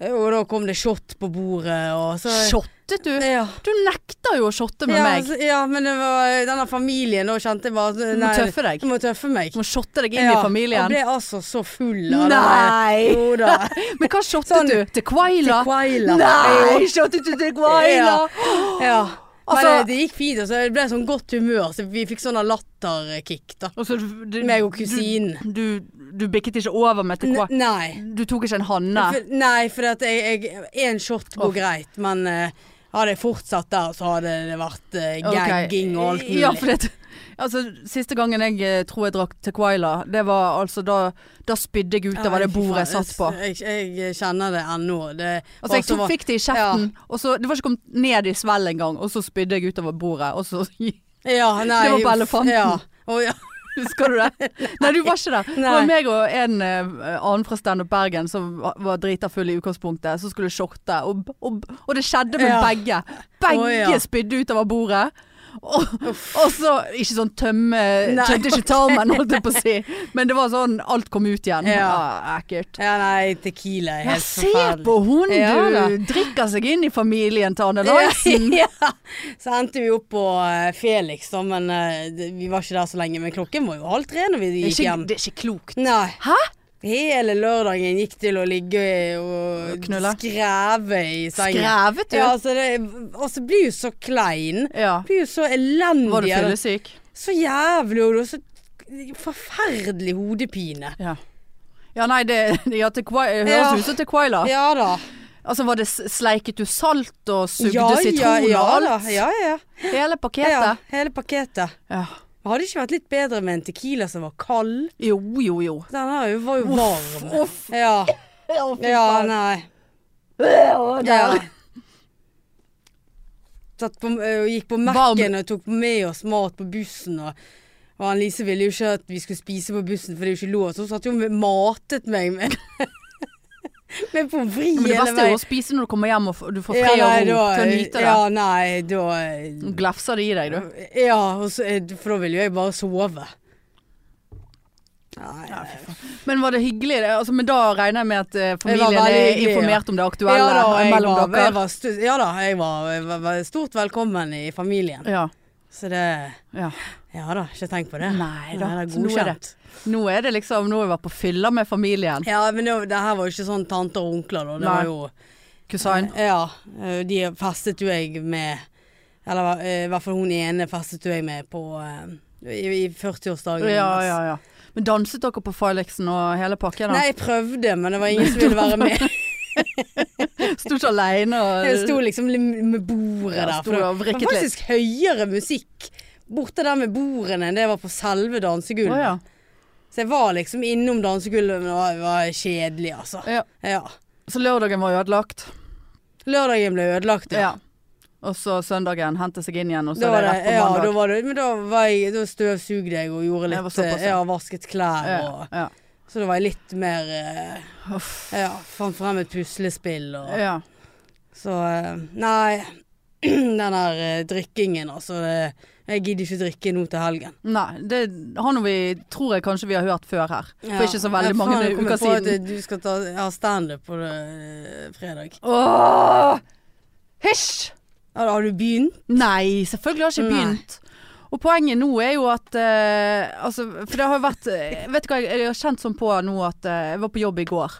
[SPEAKER 2] øh, Og da kom det shot på bordet, og så
[SPEAKER 1] Shottet du?
[SPEAKER 2] Ja.
[SPEAKER 1] Du nekter jo å shotte med
[SPEAKER 2] Ja,
[SPEAKER 1] meg.
[SPEAKER 2] så- ja, men det var denne familien, da kjente jeg bare
[SPEAKER 1] Du må tøffe deg.
[SPEAKER 2] Du må tøffe meg.
[SPEAKER 1] Du må shotte deg inn i
[SPEAKER 2] Jeg
[SPEAKER 1] familien.
[SPEAKER 2] ble altså så full av
[SPEAKER 1] Nei.
[SPEAKER 2] det. der. Jo da.
[SPEAKER 1] Men hva shottet
[SPEAKER 2] Sånn.
[SPEAKER 1] du? Til Quaila?
[SPEAKER 2] Tequila.
[SPEAKER 1] Nei, shottet du til Quaila?
[SPEAKER 2] Jo, Ja. Men
[SPEAKER 1] Altså-
[SPEAKER 2] det, det gikk fint, og så jeg ble sånn godt humør, så vi fikk sånn latterkick, da.
[SPEAKER 1] Og så du- du-
[SPEAKER 2] Meg og kusinen.
[SPEAKER 1] Du, du, du bikket ikke over med til Quaila?
[SPEAKER 2] N- Nei.
[SPEAKER 1] Du tok ikke en hanne?
[SPEAKER 2] For, nei, for at jeg, jeg, en shot går
[SPEAKER 1] Åh.
[SPEAKER 2] greit, men eh, hadde jeg fortsatt der, så hadde det vært eh,
[SPEAKER 1] Ok.
[SPEAKER 2] gagging og alt mulig.
[SPEAKER 1] Ja, for det Altså, siste gangen jeg eh, tror jeg drakk Tequila, det var altså da Da spydde jeg utover det
[SPEAKER 2] Ja, fy
[SPEAKER 1] bordet jeg
[SPEAKER 2] faen,
[SPEAKER 1] satt på.
[SPEAKER 2] Jeg, jeg kjenner det ennå. Det
[SPEAKER 1] Altså, jeg
[SPEAKER 2] var så
[SPEAKER 1] tok,
[SPEAKER 2] va-
[SPEAKER 1] fikk det i kjeften, og så Det var ikke kommet ned i svelg engang, og så spydde jeg utover bordet, og så
[SPEAKER 2] ja, nei,
[SPEAKER 1] Det var på
[SPEAKER 2] uff,
[SPEAKER 1] elefanten.
[SPEAKER 2] Ja. Å, ja.
[SPEAKER 1] Husker du det? Nei, du var ikke der. Det var
[SPEAKER 2] Nei.
[SPEAKER 1] meg og en eh, annen fra Stand Up Bergen som var- var drita full i utgangspunktet, som skulle shorte. Og, og, og det skjedde med
[SPEAKER 2] Ja.
[SPEAKER 1] begge. Begge
[SPEAKER 2] Å, ja.
[SPEAKER 1] spydde utover bordet. Og, og så Ikke sånn tømme
[SPEAKER 2] Nei,
[SPEAKER 1] Tømte ikke tarmen, holdt jeg på å si. Men det var sånn alt kom ut igjen. Ja. ekkelt.
[SPEAKER 2] ja, nei, Tequila er
[SPEAKER 1] Ja,
[SPEAKER 2] helt
[SPEAKER 1] se på hun du!
[SPEAKER 2] Ja, da.
[SPEAKER 1] drikker seg inn i familien til Anne Larsen.
[SPEAKER 2] Ja, ja. Så endte vi opp på eh, Felix, da, men eh, det- vi var ikke der så lenge. Men klokken var jo halv tre når vi
[SPEAKER 1] Det er
[SPEAKER 2] gikk
[SPEAKER 1] ikke,
[SPEAKER 2] hjem.
[SPEAKER 1] det er ikke klokt.
[SPEAKER 2] Nei.
[SPEAKER 1] Hæ?
[SPEAKER 2] Hele lørdagen gikk til å ligge og
[SPEAKER 1] Knulle.
[SPEAKER 2] skreve i sengen.
[SPEAKER 1] Skrevet, du.
[SPEAKER 2] Ja, altså, det, altså blir jo så klein.
[SPEAKER 1] Ja.
[SPEAKER 2] Blir jo så elendig.
[SPEAKER 1] Var du
[SPEAKER 2] av det.
[SPEAKER 1] fyllesyk?
[SPEAKER 2] Så jævlig, og du har så forferdelig hodepine.
[SPEAKER 1] Ja. Ja, nei, det ja, til Kwai- det høres
[SPEAKER 2] Ja.
[SPEAKER 1] ut som til Quaila.
[SPEAKER 2] Ja da.
[SPEAKER 1] Altså, var det s- sleiket du salt og sugde
[SPEAKER 2] ja,
[SPEAKER 1] sitron
[SPEAKER 2] ja,
[SPEAKER 1] og
[SPEAKER 2] ja,
[SPEAKER 1] alt?
[SPEAKER 2] da. Ja, ja.
[SPEAKER 1] Hele
[SPEAKER 2] ja.
[SPEAKER 1] pakketet?
[SPEAKER 2] Hele pakketet.
[SPEAKER 1] Ja.
[SPEAKER 2] Men Hadde det ikke vært litt bedre med en tequila som var kald?
[SPEAKER 1] Jo, jo, jo.
[SPEAKER 2] Den her jo- var jo
[SPEAKER 1] Uff,
[SPEAKER 2] varm. Ja. ja, nei. Ja. Satt på, ø, gikk på Mac-en
[SPEAKER 1] Varm.
[SPEAKER 2] og tok med oss mat på bussen. Og, og han Lise ville jo ikke at vi skulle spise på bussen, for det er jo ikke lov. Så hun satt jo og matet meg med, med pommes frites
[SPEAKER 1] Men det
[SPEAKER 2] hele
[SPEAKER 1] beste er jo
[SPEAKER 2] veien.
[SPEAKER 1] å spise når du kommer hjem og f- du får fred og ro til å nyte det.
[SPEAKER 2] Ja, nei, da eh,
[SPEAKER 1] Du Glefser det i deg, du.
[SPEAKER 2] Ja, og så, eh, for da ville jo jeg bare sove. Nei, eh,
[SPEAKER 1] Men var det hyggelig? det? Altså, men da regner jeg med at eh,
[SPEAKER 2] Det
[SPEAKER 1] familien
[SPEAKER 2] var veldig
[SPEAKER 1] er
[SPEAKER 2] hyggelig, ja.
[SPEAKER 1] informert om det aktuelle
[SPEAKER 2] da, og jeg
[SPEAKER 1] mellom
[SPEAKER 2] var- Jeg
[SPEAKER 1] dere?
[SPEAKER 2] var stu- ja da, jeg var, jeg var- var stort velkommen i familien.
[SPEAKER 1] Ja.
[SPEAKER 2] Så det
[SPEAKER 1] ja.
[SPEAKER 2] Ja da, ikke tenk på det.
[SPEAKER 1] Nei da,
[SPEAKER 2] Nei, det er
[SPEAKER 1] så nå er det-
[SPEAKER 2] godkjent.
[SPEAKER 1] Nå er det liksom Nå har vi vært på fylla med familien.
[SPEAKER 2] Ja, men det, det her var jo ikke sånn tanter og onkler, da. Det
[SPEAKER 1] Nei.
[SPEAKER 2] var jo
[SPEAKER 1] Kusain.
[SPEAKER 2] Ja, eh, de festet jo jeg med Eller eh, i hvert fall hun ene festet jo jeg med på eh, i, i 40-årsdagen.
[SPEAKER 1] Ja,
[SPEAKER 2] hennes.
[SPEAKER 1] ja, ja. Men danset dere på Filexen og hele pakken? da?
[SPEAKER 2] Nei, jeg prøvde, men det var ingen som ville være med.
[SPEAKER 1] Sto ikke aleine og
[SPEAKER 2] Jeg sto liksom li- med bordet
[SPEAKER 1] Ja,
[SPEAKER 2] der.
[SPEAKER 1] sto
[SPEAKER 2] det
[SPEAKER 1] og
[SPEAKER 2] var
[SPEAKER 1] vrikket litt.
[SPEAKER 2] faktisk høyere musikk borte der med bordene enn det var på selve dansegulvet.
[SPEAKER 1] Å, ja.
[SPEAKER 2] Så jeg var liksom innom dansegulvet, men det var, det var kjedelig, altså.
[SPEAKER 1] Ja.
[SPEAKER 2] Ja.
[SPEAKER 1] Så lørdagen var ødelagt.
[SPEAKER 2] Lørdagen ble ødelagt,
[SPEAKER 1] Ja. Og så søndagen hente seg inn igjen, og så
[SPEAKER 2] Da
[SPEAKER 1] er
[SPEAKER 2] var
[SPEAKER 1] det
[SPEAKER 2] det,
[SPEAKER 1] rett på
[SPEAKER 2] ja, da
[SPEAKER 1] mandag.
[SPEAKER 2] var det, men da, var jeg, da støvsugde jeg og gjorde
[SPEAKER 1] Det var
[SPEAKER 2] litt
[SPEAKER 1] såpass,
[SPEAKER 2] eh,
[SPEAKER 1] ja.
[SPEAKER 2] Ja, vasket klær og
[SPEAKER 1] ja.
[SPEAKER 2] Så da var jeg litt mer eh,
[SPEAKER 1] Uff.
[SPEAKER 2] Ja, fant frem et puslespill og
[SPEAKER 1] Ja.
[SPEAKER 2] Så eh, Nei. Den der eh, drikkingen, altså. Det, jeg gidder ikke drikke nå til helgen.
[SPEAKER 1] Nei, det har nå vi Tror jeg kanskje vi har hørt før her.
[SPEAKER 2] Ja.
[SPEAKER 1] For ikke så veldig
[SPEAKER 2] Ja,
[SPEAKER 1] mange
[SPEAKER 2] faen, jeg kommer
[SPEAKER 1] uker
[SPEAKER 2] på at,
[SPEAKER 1] siden.
[SPEAKER 2] eh, Du skal ta, ha standup på eh, fredag.
[SPEAKER 1] Åh! Hysj!
[SPEAKER 2] Har, har du begynt?
[SPEAKER 1] Nei, selvfølgelig har jeg ikke
[SPEAKER 2] Nei.
[SPEAKER 1] begynt. Og poenget nå er jo at eh, altså, For det har jo vært eh, Vet du hva jeg, jeg har kjent sånn på nå at eh, jeg var på jobb i går.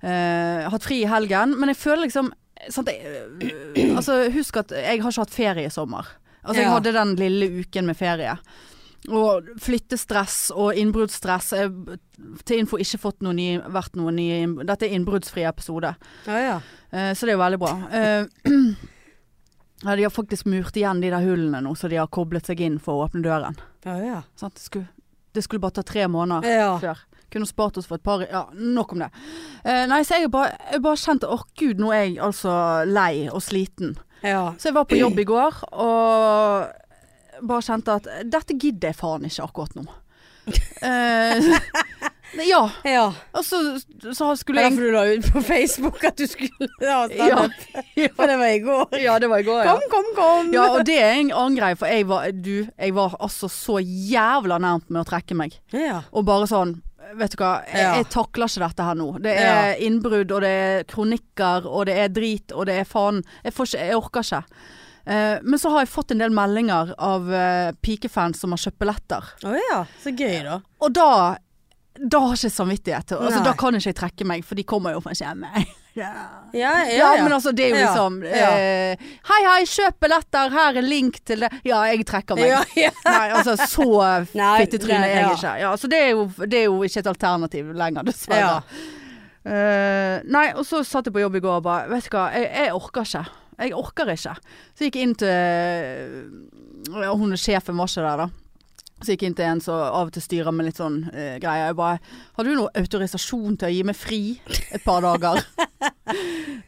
[SPEAKER 1] Eh, hatt fri i helgen. Men jeg føler liksom sant, jeg, eh, altså, Husk at jeg har ikke hatt ferie i sommer. Altså, jeg
[SPEAKER 2] Ja.
[SPEAKER 1] hadde den lille uken med ferie. Og flyttestress og innbruddsstress. Jeg har til info ikke fått noen nye, vært noen nye inn- Dette er innbruddsfri episode.
[SPEAKER 2] Ja, ja.
[SPEAKER 1] Eh, Så det er jo veldig bra. Eh, ja, de har faktisk murt igjen de der hullene nå, så de har koblet seg inn for å åpne døren.
[SPEAKER 2] Ja, ja.
[SPEAKER 1] Sant? det, skulle, det skulle bare ta tre måneder
[SPEAKER 2] ja.
[SPEAKER 1] før. Kunne spart oss for et par Ja, nok om det. Eh, nei, så jeg har bare, jeg har bare kjent Åh, gud, nå er jeg altså lei og sliten.
[SPEAKER 2] ja.
[SPEAKER 1] Så jeg var på jobb i går og bare kjente at dette gidder jeg faen ikke akkurat nå. Eh, ja,
[SPEAKER 2] ja.
[SPEAKER 1] og så, så
[SPEAKER 2] Det
[SPEAKER 1] skulle
[SPEAKER 2] er
[SPEAKER 1] jeg
[SPEAKER 2] derfor du la ut på Facebook at du skulle ha
[SPEAKER 1] Ja.
[SPEAKER 2] standup. For det var i går.
[SPEAKER 1] Ja, det var i går,
[SPEAKER 2] Kom, kom, kom!
[SPEAKER 1] Ja, og det er en annen greie, for jeg var, du, jeg var altså så jævla nærmt med å trekke meg.
[SPEAKER 2] Ja.
[SPEAKER 1] Og bare sånn, vet du hva, jeg,
[SPEAKER 2] Ja.
[SPEAKER 1] jeg takler ikke dette her nå. Det er innbrudd, og det er kronikker, og det er drit, og det er faen. Jeg, får ikke, jeg orker ikke. Eh, men så har jeg fått en del meldinger av eh, pikefans som har kjøpt billetter.
[SPEAKER 2] Å ja, så gøy da.
[SPEAKER 1] Og da, da har ikke jeg samvittighet. til- Altså,
[SPEAKER 2] Nei.
[SPEAKER 1] da kan ikke jeg trekke meg, for de kommer jo fra hjemme. Ja.
[SPEAKER 2] Ja,
[SPEAKER 1] Ja, men altså det er jo
[SPEAKER 2] Ja,
[SPEAKER 1] liksom
[SPEAKER 2] ja.
[SPEAKER 1] Eh, Hei, hei, kjøp billetter, her er link til det. Ja, jeg trekker meg.
[SPEAKER 2] ja, ja.
[SPEAKER 1] Nei, altså så
[SPEAKER 2] Nei,
[SPEAKER 1] fittetryne
[SPEAKER 2] nei,
[SPEAKER 1] er jeg
[SPEAKER 2] ja.
[SPEAKER 1] ikke. Ja, så det er, jo, det er jo ikke et alternativ lenger, dessverre.
[SPEAKER 2] Ja.
[SPEAKER 1] Eh, nei, og så satt jeg på jobb i går og bare Vet du hva, jeg, jeg orker ikke. Jeg orker ikke. Så jeg gikk inn til ja, Hun sjefen var ikke der, da. Så jeg gikk inn til en som av og til styrer med litt sånn eh, greier. Jeg bare 'Har du noe autorisasjon til å gi meg fri et par dager?'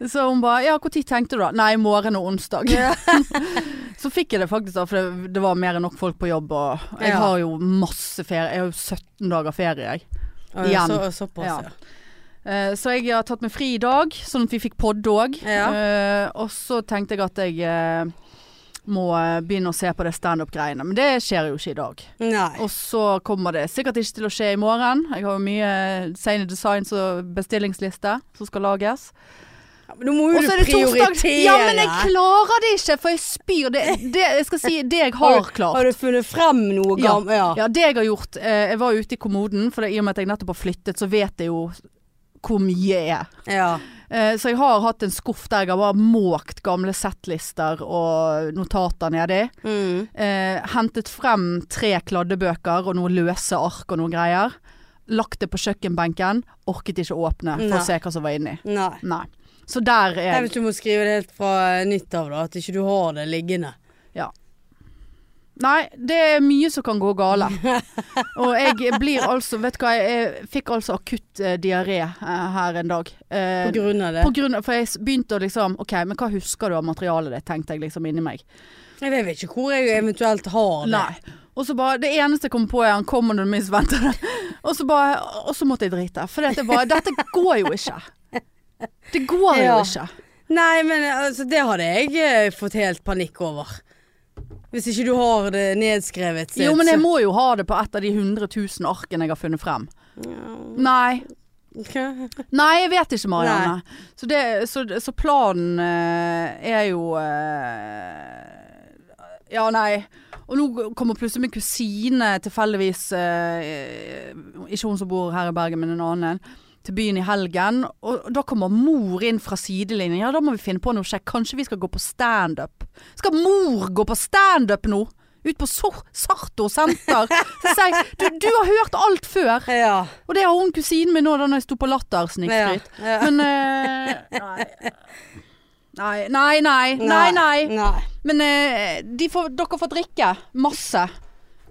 [SPEAKER 1] så hun bare 'Ja, når tenkte du da?' 'Nei, morgen og onsdag'.
[SPEAKER 2] Ja.
[SPEAKER 1] så fikk jeg det faktisk, da, for det, det var mer enn nok folk på jobb. Og jeg
[SPEAKER 2] Ja.
[SPEAKER 1] har jo masse ferie. Jeg har jo 17 dager ferie, jeg.
[SPEAKER 2] Å,
[SPEAKER 1] Igjen.
[SPEAKER 2] Så, såpass, ja.
[SPEAKER 1] Ja. Eh, Så jeg har tatt meg fri i dag, sånn at vi fikk podd òg.
[SPEAKER 2] Ja.
[SPEAKER 1] Og så tenkte jeg at jeg eh, må eh, begynne å se på det standup-greiene. Men det skjer jo ikke i dag.
[SPEAKER 2] Nei.
[SPEAKER 1] Og så kommer det sikkert ikke til å skje i morgen. Jeg har jo mye eh, sene designs og bestillingsliste som skal lages.
[SPEAKER 2] Ja, men nå må jo
[SPEAKER 1] Og
[SPEAKER 2] du
[SPEAKER 1] så er det torsdag.
[SPEAKER 2] prioritere.
[SPEAKER 1] Ja, men jeg klarer det ikke, for jeg spyr. Det, det, jeg skal si det jeg har klart.
[SPEAKER 2] Har du funnet frem noe
[SPEAKER 1] Ja.
[SPEAKER 2] gammelt? Ja.
[SPEAKER 1] Ja, det jeg har gjort eh, Jeg var ute i kommoden, for det, i og med at jeg nettopp har flyttet, så vet jeg jo hvor mye jeg er.
[SPEAKER 2] Ja.
[SPEAKER 1] Eh, så jeg har hatt en skuff der jeg har bare måkt gamle settlister og notater nedi.
[SPEAKER 2] Mm.
[SPEAKER 1] Eh, hentet frem tre kladdebøker og noen løse ark og noen greier. Lagt det på kjøkkenbenken. Orket ikke åpne for
[SPEAKER 2] Nei.
[SPEAKER 1] å se hva som var inni.
[SPEAKER 2] Nei.
[SPEAKER 1] Nei. Så der er
[SPEAKER 2] Nei,
[SPEAKER 1] jeg.
[SPEAKER 2] eh, Hvis du må skrive det helt fra nytt av, da. At ikke du har det liggende.
[SPEAKER 1] Nei, det er mye som kan gå gale. Og jeg blir altså Vet du hva, jeg fikk altså akutt eh, diaré eh, her en dag. Eh,
[SPEAKER 2] På grunn av det.
[SPEAKER 1] på grunn av, for jeg s- begynte å liksom OK, men hva husker du av materialet ditt, tenkte jeg liksom inni meg.
[SPEAKER 2] Jeg vet ikke hvor jeg eventuelt har det.
[SPEAKER 1] Nei. Og så bare, Det eneste jeg kom på, er han kommer når du minst venter det. Og så bare, og så måtte jeg drite. For det bare, dette går jo ikke. Det går jo
[SPEAKER 2] Ja.
[SPEAKER 1] ikke.
[SPEAKER 2] Nei, men altså, det hadde jeg eh, fått helt panikk over. Hvis ikke du har det nedskrevet.
[SPEAKER 1] Jo, men jeg må jo ha det på et av de 100 000 arkene jeg har funnet frem. Nei. Nei, jeg vet ikke, Marianne. Så, det, så, så planen eh, er jo eh, Ja, nei. Og nå kommer plutselig min kusine tilfeldigvis eh, Ikke hun som bor her i Bergen, men en annen. Til byen i helgen. Og da kommer mor inn fra sidelinjen. Ja, da må vi finne på noe kjekt. Kanskje vi skal gå på standup. Skal mor gå på standup nå? Ut på Sor- Sarto senter. Så sier jeg, du, du har hørt alt før.
[SPEAKER 2] Ja.
[SPEAKER 1] Og det har hun kusinen min nå da når jeg sto på Latter
[SPEAKER 2] ja.
[SPEAKER 1] snikskryt.
[SPEAKER 2] ja.
[SPEAKER 1] Men eh, nei. Nei, nei. Nei, nei.
[SPEAKER 2] Nei.
[SPEAKER 1] Men eh, de får, dere får drikke. Masse.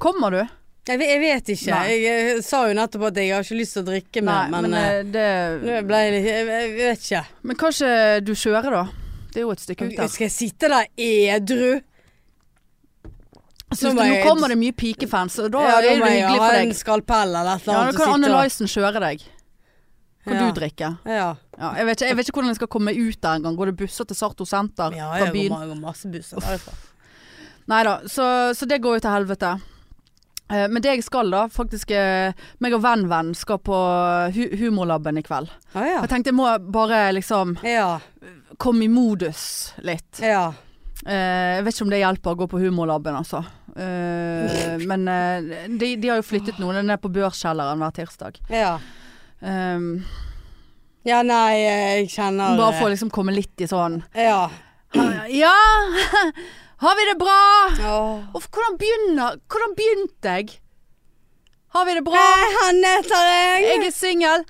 [SPEAKER 1] Kommer du?
[SPEAKER 2] Jeg, ve- jeg vet ikke.
[SPEAKER 1] Nei.
[SPEAKER 2] Jeg, eh, sa jo nettopp at jeg har ikke lyst til å drikke
[SPEAKER 1] Nei,
[SPEAKER 2] mer,
[SPEAKER 1] men
[SPEAKER 2] men, eh,
[SPEAKER 1] eh, det
[SPEAKER 2] nå ble jeg litt jeg, jeg vet ikke.
[SPEAKER 1] Men kanskje du kjører, da? Det er jo et stykke ut der.
[SPEAKER 2] Skal jeg sitte der edru?
[SPEAKER 1] Jeg
[SPEAKER 2] nå
[SPEAKER 1] synes
[SPEAKER 2] må
[SPEAKER 1] det- Nå
[SPEAKER 2] jeg-
[SPEAKER 1] kommer det mye pikefans, og da
[SPEAKER 2] Ja,
[SPEAKER 1] er det
[SPEAKER 2] må jeg
[SPEAKER 1] hyggelig
[SPEAKER 2] ha
[SPEAKER 1] for
[SPEAKER 2] en sånn
[SPEAKER 1] deg.
[SPEAKER 2] skalpell eller et
[SPEAKER 1] Ja,
[SPEAKER 2] eller
[SPEAKER 1] da
[SPEAKER 2] annet.
[SPEAKER 1] kan
[SPEAKER 2] og
[SPEAKER 1] Anne
[SPEAKER 2] sitte og-
[SPEAKER 1] Lysen kjøre deg. Kan
[SPEAKER 2] Ja.
[SPEAKER 1] du drikke?
[SPEAKER 2] Ja.
[SPEAKER 1] Ja, jeg, vet ikke, jeg vet ikke hvordan jeg skal komme meg ut der engang. Går det busser til Sarto senter
[SPEAKER 2] ja,
[SPEAKER 1] fra
[SPEAKER 2] jeg går,
[SPEAKER 1] byen?
[SPEAKER 2] ma- jeg går masse busser derfra.
[SPEAKER 1] Nei da, så, så det går jo til helvete. Eh, Men det jeg skal da, faktisk eh, Meg og venn-venn skal på hu Humorlaben i kveld.
[SPEAKER 2] Ah, ja.
[SPEAKER 1] Jeg tenkte jeg må bare liksom
[SPEAKER 2] ja.
[SPEAKER 1] komme i modus litt.
[SPEAKER 2] Ja.
[SPEAKER 1] Eh, Jeg vet ikke om det hjelper å gå på Humorlaben, altså. Eh, Men eh, de, de har jo flyttet noe. Den er på Børskjelleren hver tirsdag.
[SPEAKER 2] Ja.
[SPEAKER 1] Eh,
[SPEAKER 2] Ja, nei, eh, jeg kjenner
[SPEAKER 1] Bare
[SPEAKER 2] eh,
[SPEAKER 1] for å liksom komme litt i sånn
[SPEAKER 2] Ja.
[SPEAKER 1] Ja! Har vi det bra?
[SPEAKER 2] Åh.
[SPEAKER 1] Og hvordan begynner Hvordan begynte jeg? Har vi det bra?
[SPEAKER 2] Hei, Hanne heter jeg.
[SPEAKER 1] Jeg er singel.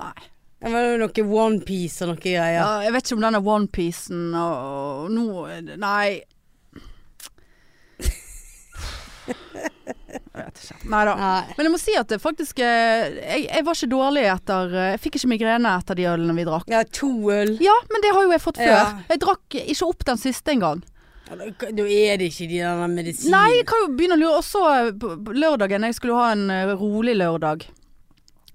[SPEAKER 1] Nei.
[SPEAKER 2] Det var jo noe OnePiece og noe
[SPEAKER 1] Ja,
[SPEAKER 2] greier.
[SPEAKER 1] jeg vet ikke om denne onepiecen og, og nå er det- Nei. Jeg vet ikke. Nei da.
[SPEAKER 2] Nei.
[SPEAKER 1] Men jeg må si at det faktisk eh, Jeg, jeg var ikke dårlig etter eh, Jeg fikk ikke migrene etter de ølene vi drakk.
[SPEAKER 2] Ja, to øl.
[SPEAKER 1] Ja, men det har jo jeg fått før.
[SPEAKER 2] Ja.
[SPEAKER 1] Jeg drakk ikke opp den siste engang.
[SPEAKER 2] Ja, Da da er det ikke de der medisinene.
[SPEAKER 1] Nei, jeg kan jo begynne å lure. Også eh, på på lørdagen, jeg skulle ha en eh, rolig lørdag.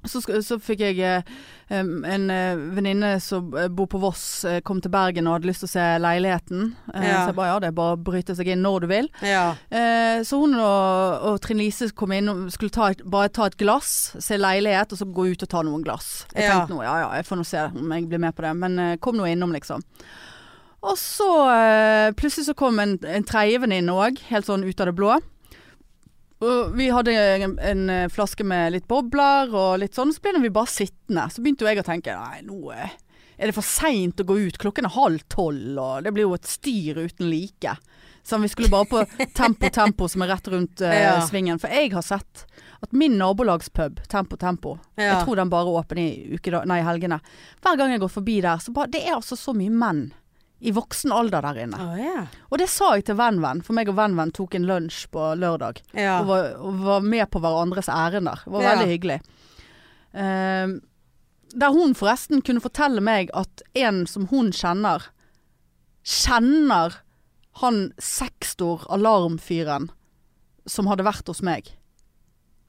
[SPEAKER 1] Så, sk- så fikk jeg eh, em, en eh, venninne som eh, bor på Voss, eh, kom til Bergen og hadde lyst til å se leiligheten. Eh,
[SPEAKER 2] Ja.
[SPEAKER 1] Så jeg bare ja, det er bare å bryte seg inn når du vil.
[SPEAKER 2] Ja.
[SPEAKER 1] Eh, så hun og, og Trine Lise kom inn og skulle ta et, bare ta et glass, se leilighet, og så gå ut og ta noen glass. Jeg
[SPEAKER 2] Ja.
[SPEAKER 1] tenkte nå, ja ja, jeg får nå se om jeg blir med på det, men eh, kom nå innom, liksom. Og så eh, plutselig så kom en, en tredje venninne òg, helt sånn ut av det blå. Og vi hadde en, en eh, flaske med litt bobler og litt sånn, så ble vi bare sittende. Så begynte jo jeg å tenke nei, nå eh, er det for seint å gå ut, klokken er halv tolv og det blir jo et styr uten like. Så vi skulle bare på Tempo Tempo som er rett rundt eh,
[SPEAKER 2] Ja.
[SPEAKER 1] svingen. For jeg har sett at min nabolagspub, Tempo Tempo,
[SPEAKER 2] Ja.
[SPEAKER 1] jeg tror den bare er åpen i ukeda- nei, helgene. Hver gang jeg går forbi der, så bare Det er altså så mye menn i voksen alder der inne.
[SPEAKER 2] Å, ja.
[SPEAKER 1] Og det sa jeg til venn-venn, for meg og venn-venn tok en lunsj på lørdag.
[SPEAKER 2] Ja.
[SPEAKER 1] Og, var, og var med på hverandres ærender. Det var
[SPEAKER 2] Ja.
[SPEAKER 1] veldig hyggelig. Ehm, der hun forresten kunne fortelle meg at en som hun kjenner, kjenner han sekstor alarmfyren som hadde vært hos meg.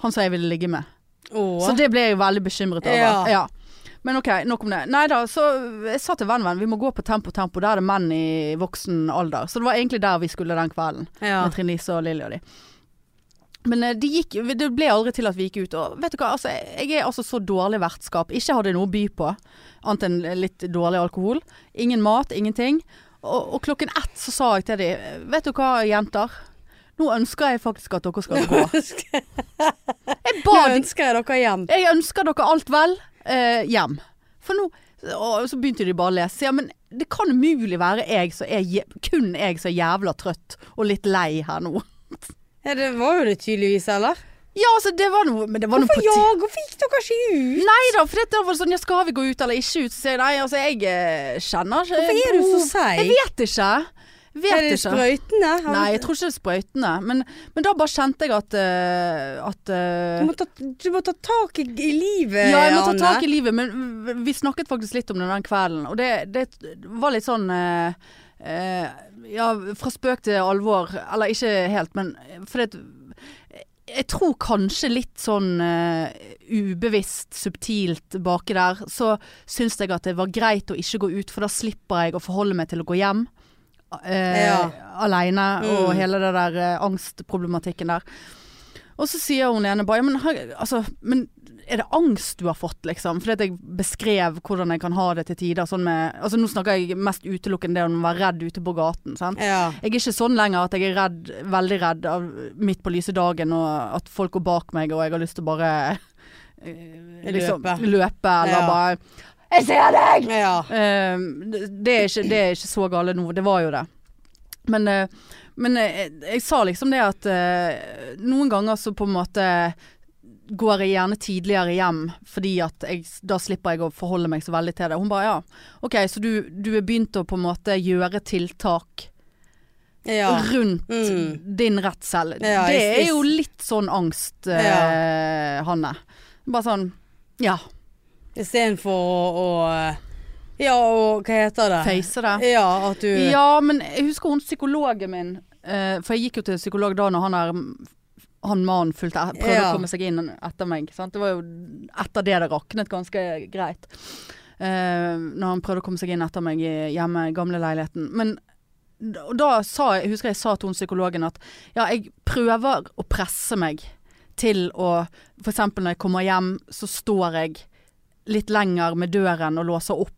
[SPEAKER 1] Han som jeg ville ligge med.
[SPEAKER 2] Å.
[SPEAKER 1] Så det ble jeg veldig bekymret over.
[SPEAKER 2] Ja.
[SPEAKER 1] Ja. Men ok, nok om det. Nei da, så jeg sa til vennen min vi må gå på Tempo Tempo, der er det menn i voksen alder. Så det var egentlig der vi skulle den kvelden.
[SPEAKER 2] ja.
[SPEAKER 1] Med Trine Lise og Lilly og de. Men eh, det, gikk, det ble aldri til at vi gikk ut. Og vet du hva, altså, jeg er altså så dårlig vertskap. Ikke hadde jeg noe å by på, annet enn litt dårlig alkohol. Ingen mat, ingenting. Og, og klokken ett så sa jeg til de, vet du hva jenter, nå ønsker jeg faktisk at dere skal gå. Jeg
[SPEAKER 2] Nå
[SPEAKER 1] ba de
[SPEAKER 2] ønsker jeg dere hjem.
[SPEAKER 1] jeg ønsker dere alt vel eh, hjem. For nå Og så begynte de bare å lese. Ja, men det kan umulig være jeg som er je- kun jeg som er jævla trøtt og litt lei her nå.
[SPEAKER 2] Ja, det var jo det tydeligvis, eller?
[SPEAKER 1] Ja, altså, det var noe Men det var noe
[SPEAKER 2] Hvorfor
[SPEAKER 1] på
[SPEAKER 2] ja?
[SPEAKER 1] ti...
[SPEAKER 2] Hvorfor gikk dere ikke ut?
[SPEAKER 1] Nei da, for dette var sånn ja, Skal vi gå ut eller ikke ut? Så sier jeg nei, altså, jeg eh, kjenner ikke
[SPEAKER 2] Hvorfor er du så
[SPEAKER 1] behov.
[SPEAKER 2] seig?
[SPEAKER 1] Jeg vet ikke. Vet
[SPEAKER 2] er det
[SPEAKER 1] ikke.
[SPEAKER 2] sprøytene? Har
[SPEAKER 1] Nei,
[SPEAKER 2] vi-
[SPEAKER 1] jeg tror ikke det er sprøytene. Men, men da bare kjente jeg at, eh, at eh,
[SPEAKER 2] du, må ta, du må ta tak i, i livet,
[SPEAKER 1] Ja, jeg må ta tak i livet, men v- vi snakket faktisk litt om det den kvelden. Og det, det var litt sånn eh, eh, Ja, fra spøk til alvor. Eller ikke helt, men eh, for det Jeg tror kanskje litt sånn eh, ubevisst, subtilt baki der, så syns jeg at det var greit å ikke gå ut, for da slipper jeg å forholde meg til å gå hjem. Eh,
[SPEAKER 2] Ja.
[SPEAKER 1] Aleine og
[SPEAKER 2] Mm.
[SPEAKER 1] hele det der eh, angstproblematikken der. Og så sier hun ene bare, men, har- altså, men er det angst du har fått, liksom? Fordi at jeg beskrev hvordan jeg kan ha det til tider. Sånn med, altså, nå snakker jeg mest utelukkende det om å være redd ute på gaten. Sant?
[SPEAKER 2] Ja.
[SPEAKER 1] Jeg er ikke sånn lenger at jeg er redd, veldig redd av, midt på lyse dagen, og at folk går bak meg og jeg har lyst til å bare eh, liksom,
[SPEAKER 2] Løpe.
[SPEAKER 1] løpe eller
[SPEAKER 2] Ja.
[SPEAKER 1] bare Jeg ser deg!
[SPEAKER 2] ja.
[SPEAKER 1] Eh, det, det, er ikke, det er ikke så gale nå, det var jo det. Men, eh, men eh, jeg, jeg sa liksom det at eh, noen ganger så på en måte går jeg gjerne tidligere hjem, fordi at jeg, da slipper jeg å forholde meg så veldig til det. Hun bare ja, ok, så du, du er begynt å på en måte gjøre tiltak
[SPEAKER 2] ja.
[SPEAKER 1] rundt
[SPEAKER 2] Mm.
[SPEAKER 1] din redsel.
[SPEAKER 2] Ja,
[SPEAKER 1] det
[SPEAKER 2] jeg-
[SPEAKER 1] er
[SPEAKER 2] jeg-
[SPEAKER 1] jo litt sånn angst, eh, Hanne. Bare sånn ja,
[SPEAKER 2] Istedenfor å, å Ja, og hva heter det?
[SPEAKER 1] face det.
[SPEAKER 2] Ja, at du
[SPEAKER 1] Ja, men jeg husker hun psykologen min eh, For jeg gikk jo til psykolog da når han er han mannen fulgte e- prøvde
[SPEAKER 2] Ja.
[SPEAKER 1] å komme seg inn etter meg. Sant? Det var jo etter det det raknet ganske greit. Eh, når han prøvde å komme seg inn etter meg i- hjemme i gamle leiligheten. Men da, og da sa jeg, husker jeg sa til hun psykologen at ja, jeg prøver å presse meg til å F.eks. når jeg kommer hjem, så står jeg litt lenger med døren og låser opp.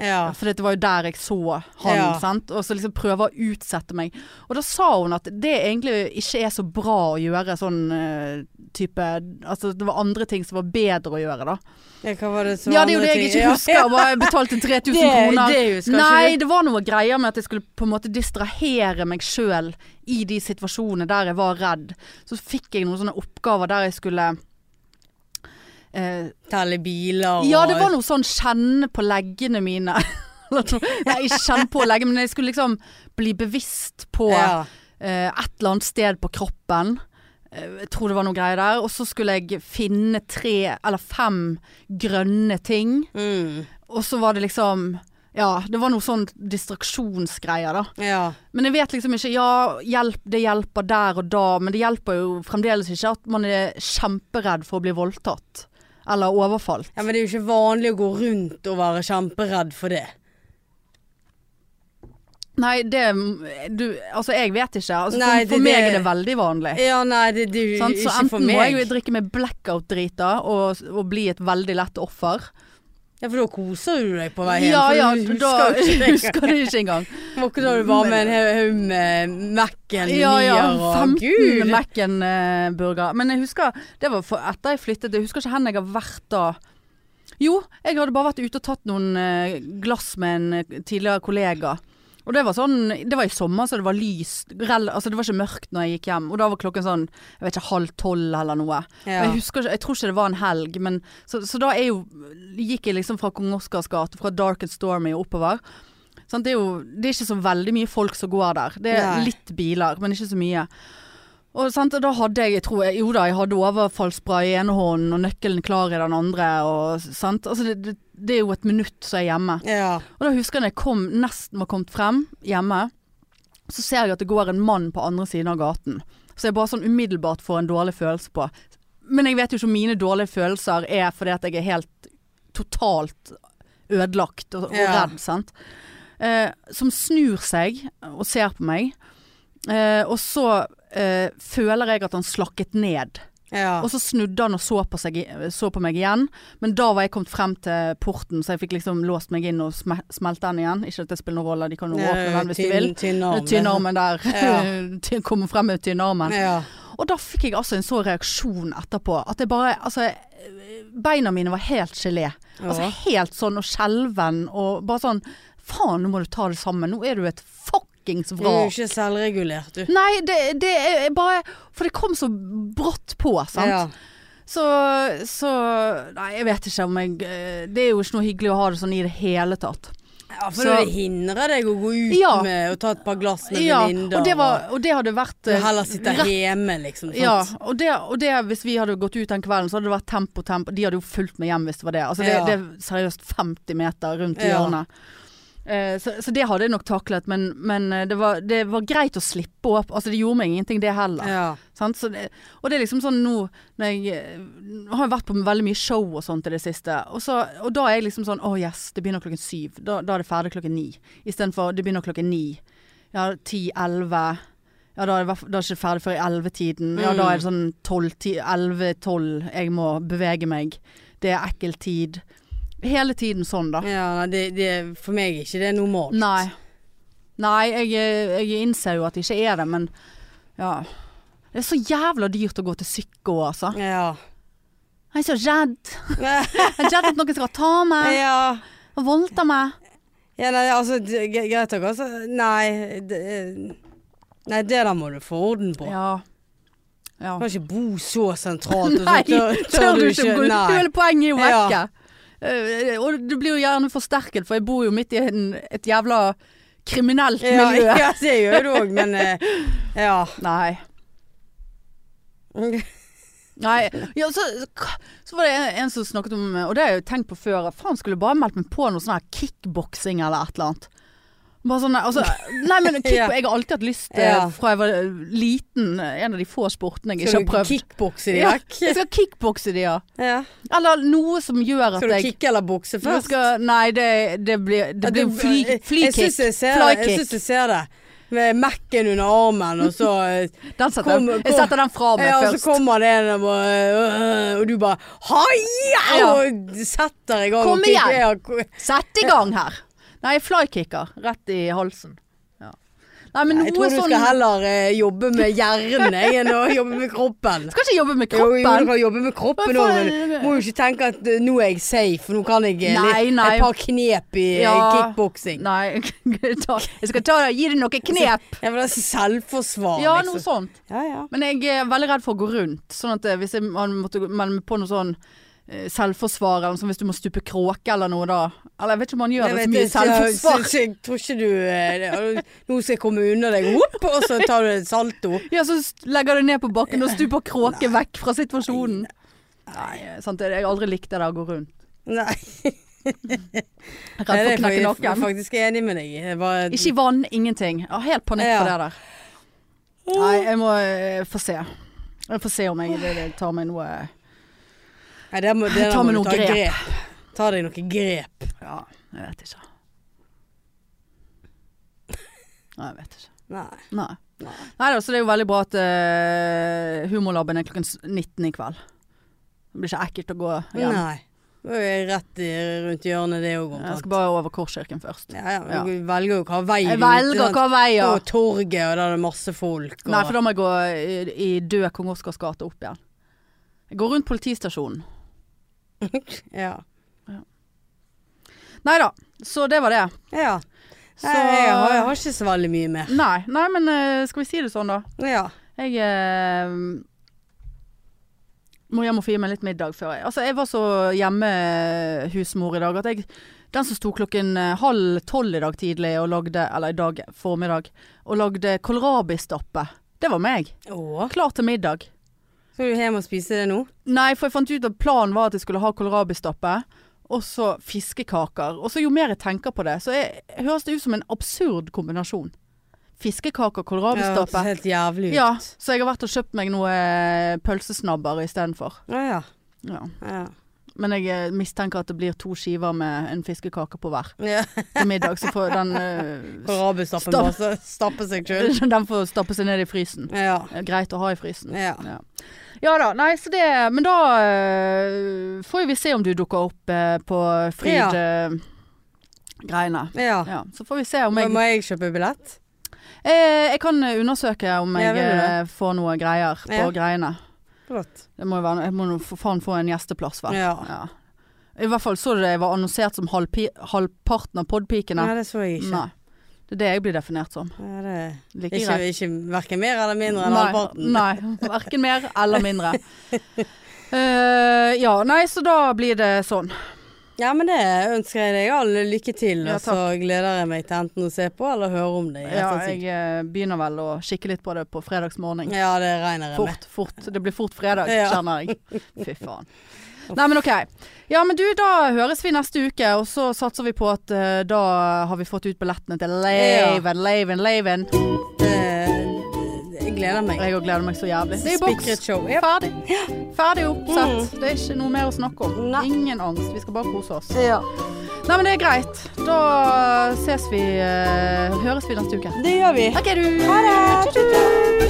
[SPEAKER 2] ja.
[SPEAKER 1] For det var jo der jeg så han,
[SPEAKER 2] Ja.
[SPEAKER 1] sant? og så liksom prøve å utsette meg. Og da sa hun at det egentlig ikke er så bra å gjøre sånn eh, type Altså det var andre ting som var bedre å gjøre, da.
[SPEAKER 2] Ja, Hva var det som
[SPEAKER 1] ja, det er jo
[SPEAKER 2] andre
[SPEAKER 1] det jeg
[SPEAKER 2] ting-
[SPEAKER 1] ikke
[SPEAKER 2] Ja.
[SPEAKER 1] husker. Jeg bare betalte 3000
[SPEAKER 2] Det-
[SPEAKER 1] kroner.
[SPEAKER 2] det husker ikke
[SPEAKER 1] Nei,
[SPEAKER 2] du.
[SPEAKER 1] det var noe greier med at jeg skulle på en måte distrahere meg sjøl i de situasjonene der jeg var redd. Så fikk jeg noen sånne oppgaver der jeg skulle eh,
[SPEAKER 2] Telle biler og
[SPEAKER 1] ja, det var noe sånn kjenne på leggene mine. Eller noe- Nei, ikke kjenne på legget, men jeg skulle liksom bli bevisst på
[SPEAKER 2] ja.
[SPEAKER 1] eh, et eller annet sted på kroppen. Eh, Jeg tror det var noe greier der. Og så skulle jeg finne tre eller fem grønne ting.
[SPEAKER 2] Mm.
[SPEAKER 1] Og så var det liksom Ja, det var noe sånn distraksjonsgreier, da.
[SPEAKER 2] ja.
[SPEAKER 1] Men jeg vet liksom ikke Ja, hjelp, det hjelper der og da, men det hjelper jo fremdeles ikke at man er kjemperedd for å bli voldtatt. Eller overfalt.
[SPEAKER 2] Ja, men det er jo ikke vanlig å gå rundt og være kjemperedd for det.
[SPEAKER 1] Nei, det du, Altså, jeg vet ikke. Altså,
[SPEAKER 2] Nei,
[SPEAKER 1] for,
[SPEAKER 2] det-
[SPEAKER 1] for meg
[SPEAKER 2] det-
[SPEAKER 1] er det veldig vanlig.
[SPEAKER 2] Ja, nei, det, det er jo
[SPEAKER 1] sant? Så
[SPEAKER 2] ikke for
[SPEAKER 1] enten må
[SPEAKER 2] meg.
[SPEAKER 1] jeg jo drikke meg blackout-drita og, og bli et veldig lett offer.
[SPEAKER 2] Ja, for da koser du deg på vei hjem.
[SPEAKER 1] Ja ja,
[SPEAKER 2] for du
[SPEAKER 1] da
[SPEAKER 2] husker jo ikke
[SPEAKER 1] husker du ikke engang.
[SPEAKER 2] det. Var ikke da du var med en haug- haug med Mac-en
[SPEAKER 1] Ja ja,
[SPEAKER 2] nier
[SPEAKER 1] 15
[SPEAKER 2] og Gud.
[SPEAKER 1] Mac-en-burger. Men jeg husker det var for, etter jeg flyttet, jeg husker ikke hvor jeg har vært da. Jo, jeg hadde bare vært ute og tatt noen eh, glass med en eh, tidligere kollega. Og det var sånn, det var i sommer, så det var lyst. Rel, altså det var ikke mørkt når jeg gikk hjem. Og da var klokken sånn, jeg vet ikke, halv tolv eller noe.
[SPEAKER 2] Ja.
[SPEAKER 1] Og Jeg husker ikke, jeg tror ikke det var en helg, men så, så da er jo, gikk jeg liksom fra Kong Oscars gate, fra Dark and Stormy og oppover. Sant, det, er jo, det er ikke så veldig mye folk som går der. Det er
[SPEAKER 2] Nei.
[SPEAKER 1] litt biler, men ikke så mye. Og, sant, og da hadde jeg, jeg tror jeg, jo da, jeg hadde overfallsspray i ene hånden og nøkkelen klar i den andre. Og, sant? Altså, det, det, det er jo et minutt så er jeg hjemme.
[SPEAKER 2] Ja.
[SPEAKER 1] Og da husker jeg når jeg kom, nesten var kommet frem hjemme, så ser jeg at det går en mann på andre siden av gaten. Så jeg bare sånn umiddelbart får en dårlig følelse på. Men jeg vet jo ikke om mine dårlige følelser er fordi at jeg er helt totalt ødelagt og, og
[SPEAKER 2] Ja.
[SPEAKER 1] redd, sant. Eh, som snur seg og ser på meg. Eh, og så eh, føler jeg at han slakket ned.
[SPEAKER 2] Ja.
[SPEAKER 1] Og så snudde han og så på, seg, så på meg igjen, men da var jeg kommet frem til porten, så jeg fikk liksom låst meg inn og sme smelte den igjen. Ikke at det spiller noen rolle, de kan jo åpne
[SPEAKER 2] Eh,
[SPEAKER 1] den hvis de vil. Eh,
[SPEAKER 2] Tynnarmen.
[SPEAKER 1] Tynnarmen der.
[SPEAKER 2] Ja.
[SPEAKER 1] Ja. Kommer frem med tynnarmen.
[SPEAKER 2] Ja.
[SPEAKER 1] Og da fikk jeg altså en så reaksjon etterpå at jeg bare Altså, beina mine var helt gelé. Altså
[SPEAKER 2] Ja.
[SPEAKER 1] helt sånn og skjelven og bare sånn Faen, nå må du ta det sammen. Nå er du et fuckings
[SPEAKER 2] Du er jo
[SPEAKER 1] vrak.
[SPEAKER 2] ikke selvregulert, du.
[SPEAKER 1] Nei, det, det er bare For det kom så brått på, sant.
[SPEAKER 2] Ja.
[SPEAKER 1] Så, så Nei, jeg vet ikke om jeg eh, Det er jo ikke noe hyggelig å ha det sånn i det hele tatt.
[SPEAKER 2] Ja, for
[SPEAKER 1] Så-
[SPEAKER 2] det hindrer deg å gå ut
[SPEAKER 1] Ja.
[SPEAKER 2] med og ta et par glass med
[SPEAKER 1] Ja,
[SPEAKER 2] venninner.
[SPEAKER 1] og det, var, og det hadde vært eh,
[SPEAKER 2] Heller sitte
[SPEAKER 1] rett-
[SPEAKER 2] hjemme, liksom. Sant?
[SPEAKER 1] Ja, og det, og det hvis vi hadde gått ut den kvelden, så hadde det vært tempo, tempo. De hadde jo fulgt meg hjem hvis det var det. Altså det,
[SPEAKER 2] Ja.
[SPEAKER 1] det er seriøst 50 meter rundt i
[SPEAKER 2] Ja.
[SPEAKER 1] hjørnet. Eh, så, så det hadde jeg nok taklet, men, men eh, det, var, det var greit å slippe opp. Altså det gjorde meg ingenting det heller.
[SPEAKER 2] Ja.
[SPEAKER 1] Sant? Så det, og det er liksom sånn nå når jeg eh, har jeg vært på veldig mye show og sånt i det siste, og, så, og da er jeg liksom sånn Å yes, det begynner klokken syv. Da, da er det ferdig klokken ni. Istedenfor det begynner klokken ni. Ja, ti, elleve. Ja, da er det i hvert fall- da er det ikke ferdig før i ellevetiden. Ja, da er det sånn elleve-tolv. Jeg må bevege meg. Det er ekkel tid. Hele tiden sånn, da.
[SPEAKER 2] ja nei, det, det, for meg er ikke det normalt.
[SPEAKER 1] Nei. Nei, jeg, jeg innser jo at det ikke er det, men ja. Det er så jævla dyrt å gå til psyko, altså.
[SPEAKER 2] Ja.
[SPEAKER 1] Jeg er så redd. Jeg er redd at noen skal ta meg
[SPEAKER 2] ja.
[SPEAKER 1] og voldta meg.
[SPEAKER 2] Ja, nei, altså, det- gre- greit nok, altså. Nei, det, eh, nei, det der må du få orden på.
[SPEAKER 1] Ja. ja.
[SPEAKER 2] Du kan ikke bo så sentralt. og så
[SPEAKER 1] Nei,
[SPEAKER 2] tør,
[SPEAKER 1] tør du ikke å gå ut? Det er
[SPEAKER 2] Nei.
[SPEAKER 1] Hele poenget er jo
[SPEAKER 2] Ja.
[SPEAKER 1] vekke. Eh, og du blir jo gjerne forsterket, for jeg bor jo midt i en, et jævla kriminelt
[SPEAKER 2] Ja,
[SPEAKER 1] miljø.
[SPEAKER 2] ja, det gjør du òg, men eh, ja.
[SPEAKER 1] Nei. Nei. Ja, så, så var det en, en som snakket om, og det har jeg jo tenkt på før, at faen skulle jeg bare meldt meg på noe sånn her kickboksing eller et eller annet. Bare sånn, altså, nei, men kick,
[SPEAKER 2] Ja.
[SPEAKER 1] Jeg har alltid hatt lyst eh,
[SPEAKER 2] Ja.
[SPEAKER 1] fra jeg var liten, eh, en av de få sportene jeg ikke
[SPEAKER 2] Skal
[SPEAKER 1] har
[SPEAKER 2] du
[SPEAKER 1] prøvd.
[SPEAKER 2] kickbokse i
[SPEAKER 1] Ja,
[SPEAKER 2] dag?
[SPEAKER 1] jeg skal kickbokse de, ja.
[SPEAKER 2] Ja.
[SPEAKER 1] Eller noe som gjør at
[SPEAKER 2] Skal du
[SPEAKER 1] jeg
[SPEAKER 2] kicke eller bokse
[SPEAKER 1] Nå
[SPEAKER 2] først?
[SPEAKER 1] Skal, nei, det, det blir, det
[SPEAKER 2] At
[SPEAKER 1] blir
[SPEAKER 2] du-
[SPEAKER 1] fly,
[SPEAKER 2] Jeg syns
[SPEAKER 1] flykick.
[SPEAKER 2] jeg ser det. Jeg
[SPEAKER 1] Flykick.
[SPEAKER 2] syns jeg ser det. Med Mac-en under armen, og så eh,
[SPEAKER 1] Den setter
[SPEAKER 2] Kom-
[SPEAKER 1] jeg-
[SPEAKER 2] kom.
[SPEAKER 1] Jeg setter den fra meg
[SPEAKER 2] ja, og
[SPEAKER 1] først.
[SPEAKER 2] så kommer det en og bare øh, Og du bare Haia!
[SPEAKER 1] Ja.
[SPEAKER 2] Og setter i gang.
[SPEAKER 1] Kom
[SPEAKER 2] og kicker.
[SPEAKER 1] igjen.
[SPEAKER 2] Ja, ko-
[SPEAKER 1] Sett i gang her. Nei, flykicker. Rett i halsen. Ja. Nei, men
[SPEAKER 2] Nei, Jeg
[SPEAKER 1] noe
[SPEAKER 2] tror du
[SPEAKER 1] sånn
[SPEAKER 2] skal heller eh, jobbe med hjernen jeg, enn å jobbe med kroppen.
[SPEAKER 1] Skal ikke jobbe med
[SPEAKER 2] Jo, jo, du
[SPEAKER 1] kroppen.
[SPEAKER 2] kan jobbe med
[SPEAKER 1] Hva
[SPEAKER 2] kroppen òg,
[SPEAKER 1] faen er
[SPEAKER 2] men du
[SPEAKER 1] det?
[SPEAKER 2] må jo ikke tenke at eh, nå er jeg safe, for nå kan jeg eh,
[SPEAKER 1] Nei,
[SPEAKER 2] litt-
[SPEAKER 1] nei.
[SPEAKER 2] et par knep i eh,
[SPEAKER 1] Ja.
[SPEAKER 2] kickboksing.
[SPEAKER 1] Nei, ta- jeg skal ta, gi deg noen knep.
[SPEAKER 2] Ja, men det er selvforsvar,
[SPEAKER 1] Ja, noe
[SPEAKER 2] Altså, liksom.
[SPEAKER 1] sånt.
[SPEAKER 2] Ja, ja.
[SPEAKER 1] Men jeg er veldig redd for å gå rundt. Sånn at eh, hvis jeg man måtte gå- melde meg på noe sånn eh, selvforsvar, eller noe sånt, hvis du må stupe kråke eller noe da. Eller jeg vet ikke om man gjør
[SPEAKER 2] Jeg
[SPEAKER 1] det
[SPEAKER 2] vet
[SPEAKER 1] så mye
[SPEAKER 2] ikke, jeg-
[SPEAKER 1] selvforsvar.
[SPEAKER 2] jeg- Jeg tror ikke du eh, det- Nå skal jeg komme unna deg, Whoop, og så tar du et salto.
[SPEAKER 1] Ja, så s- legger du ned på bakken og stuper kråke vekk fra situasjonen. Nei, eh, sant det. Jeg har aldri likt det der å gå rundt.
[SPEAKER 2] Nei,
[SPEAKER 1] Redd
[SPEAKER 2] nei,
[SPEAKER 1] for å
[SPEAKER 2] det er
[SPEAKER 1] knekke
[SPEAKER 2] jeg fa-
[SPEAKER 1] nakken.
[SPEAKER 2] faktisk enig med deg i. Det var-
[SPEAKER 1] Ikke i vann, ingenting. Jeg har helt panikk
[SPEAKER 2] Ja.
[SPEAKER 1] for det der. Nei, jeg må eh, få se. Jeg får se om jeg det- det tar meg noe
[SPEAKER 2] Nei, det må, det
[SPEAKER 1] Ta
[SPEAKER 2] der må
[SPEAKER 1] med
[SPEAKER 2] du
[SPEAKER 1] noe
[SPEAKER 2] ta
[SPEAKER 1] grep.
[SPEAKER 2] grep. Ta deg noen grep.
[SPEAKER 1] Ja, jeg vet ikke. Nei, jeg vet ikke.
[SPEAKER 2] Nei.
[SPEAKER 1] Nei.
[SPEAKER 2] Nei.
[SPEAKER 1] Neida, så det er jo veldig bra at eh, humorlaben er klokken s- 19 i kveld. Det blir ikke ekkelt å gå hjem.
[SPEAKER 2] Nei. Det er rett i, rundt hjørnet det òg,
[SPEAKER 1] Jeg
[SPEAKER 2] omtrent.
[SPEAKER 1] skal bare over Korskirken først.
[SPEAKER 2] Ja, ja, men
[SPEAKER 1] Ja.
[SPEAKER 2] Du velger jo hva vei
[SPEAKER 1] Jeg
[SPEAKER 2] du
[SPEAKER 1] velger hva vei, ja.
[SPEAKER 2] På torget, og der er det masse folk. Og...
[SPEAKER 1] Nei, for da må jeg gå i, i død Kong Oscars gate opp igjen. Jeg går rundt politistasjonen.
[SPEAKER 2] Ja.
[SPEAKER 1] Nei da, så det var det. Eh,
[SPEAKER 2] ja.
[SPEAKER 1] Så,
[SPEAKER 2] Nei, jeg, har, jeg har ikke så veldig mye mer.
[SPEAKER 1] nei, nei, men eh, skal vi si det sånn, da?
[SPEAKER 2] Ja.
[SPEAKER 1] Jeg eh, må hjem og få gi meg litt middag før jeg Altså, jeg var så hjemmehusmor i dag at jeg Den som sto klokken eh, halv tolv i dag tidlig og lagde Eller i dag formiddag og lagde kålrabistappe, det var meg.
[SPEAKER 2] Å.
[SPEAKER 1] Klar til middag.
[SPEAKER 2] Skal du hjem og spise det nå?
[SPEAKER 1] Nei, for jeg fant ut at planen var at jeg skulle ha kålrabistappe. Og så fiskekaker. Og så jo mer jeg tenker på det, så jeg, høres det ut som en absurd kombinasjon. Fiskekaker,
[SPEAKER 2] Det hørtes
[SPEAKER 1] kålrabistappe.
[SPEAKER 2] helt jævlig ut.
[SPEAKER 1] Ja, så jeg har vært og kjøpt meg noe eh, pølsesnabber istedenfor.
[SPEAKER 2] Ja, ja.
[SPEAKER 1] Ja.
[SPEAKER 2] ja.
[SPEAKER 1] Men jeg eh, mistenker at det blir to skiver med en fiskekake på hver
[SPEAKER 2] ja.
[SPEAKER 1] til middag. Så får den, eh,
[SPEAKER 2] Karabistappen
[SPEAKER 1] Stapp.
[SPEAKER 2] bare så- stapper seg sjøl.
[SPEAKER 1] den får stappe seg ned i frysen.
[SPEAKER 2] Ja.
[SPEAKER 1] Det er Greit å ha i frysen.
[SPEAKER 2] ja.
[SPEAKER 1] Ja. ja da, nei så det Men da eh, får jo vi se om du dukker opp eh, på
[SPEAKER 2] Ja.
[SPEAKER 1] Fryd-greiene.
[SPEAKER 2] ja.
[SPEAKER 1] Ja. så får vi se om
[SPEAKER 2] Må,
[SPEAKER 1] jeg
[SPEAKER 2] må jeg kjøpe billett?
[SPEAKER 1] eh, Jeg kan undersøke om
[SPEAKER 2] Ja,
[SPEAKER 1] jeg
[SPEAKER 2] vil du det?
[SPEAKER 1] eh, får noe greier på
[SPEAKER 2] Ja.
[SPEAKER 1] greiene.
[SPEAKER 2] Flott.
[SPEAKER 1] Det må jo være, jeg må nå for faen få en gjesteplass, vel.
[SPEAKER 2] Ja.
[SPEAKER 1] Ja. I hvert fall så du det jeg var annonsert som halvpi, halvparten av podpikene.
[SPEAKER 2] Nei, det så jeg ikke.
[SPEAKER 1] Nei. Det er det jeg blir definert som.
[SPEAKER 2] Ja, det...
[SPEAKER 1] Like
[SPEAKER 2] Ikke,
[SPEAKER 1] greit.
[SPEAKER 2] ikke hverken mer eller mindre enn
[SPEAKER 1] Nei,
[SPEAKER 2] halvparten.
[SPEAKER 1] nei, verken mer eller mindre. Eh, ja, nei, så da blir det sånn.
[SPEAKER 2] Ja, men det ønsker jeg deg all lykke til,
[SPEAKER 1] Ja,
[SPEAKER 2] og så gleder jeg meg til enten å se på eller høre om det. i
[SPEAKER 1] Ja,
[SPEAKER 2] ettertid.
[SPEAKER 1] jeg eh, begynner vel å kikke litt på det på fredagsmorgen.
[SPEAKER 2] ja det regner jeg med.
[SPEAKER 1] Fort, fort. Det blir fort fredag,
[SPEAKER 2] Ja.
[SPEAKER 1] kjenner jeg. Fy faen. Nei, men OK. Ja, men du, da høres vi neste uke, og så satser vi på at eh, da har vi fått ut billettene til Laven, Laven, Laven.
[SPEAKER 2] Det- Jeg gleder meg.
[SPEAKER 1] Jeg òg gleder meg så jævlig. Det er jo boks.
[SPEAKER 2] Spikret show. Ja. Mm.
[SPEAKER 1] Ferdig. Ferdig oppsett. Det er ikke noe mer å snakke om.
[SPEAKER 2] Nei.
[SPEAKER 1] Ingen angst. Vi skal bare kose oss.
[SPEAKER 2] ja.
[SPEAKER 1] Nei, men det er greit. Da ses vi eh, Høres vi neste uke.
[SPEAKER 2] Det gjør vi.
[SPEAKER 1] OK, du.
[SPEAKER 2] Ha det.
[SPEAKER 1] Tju, tju, tju.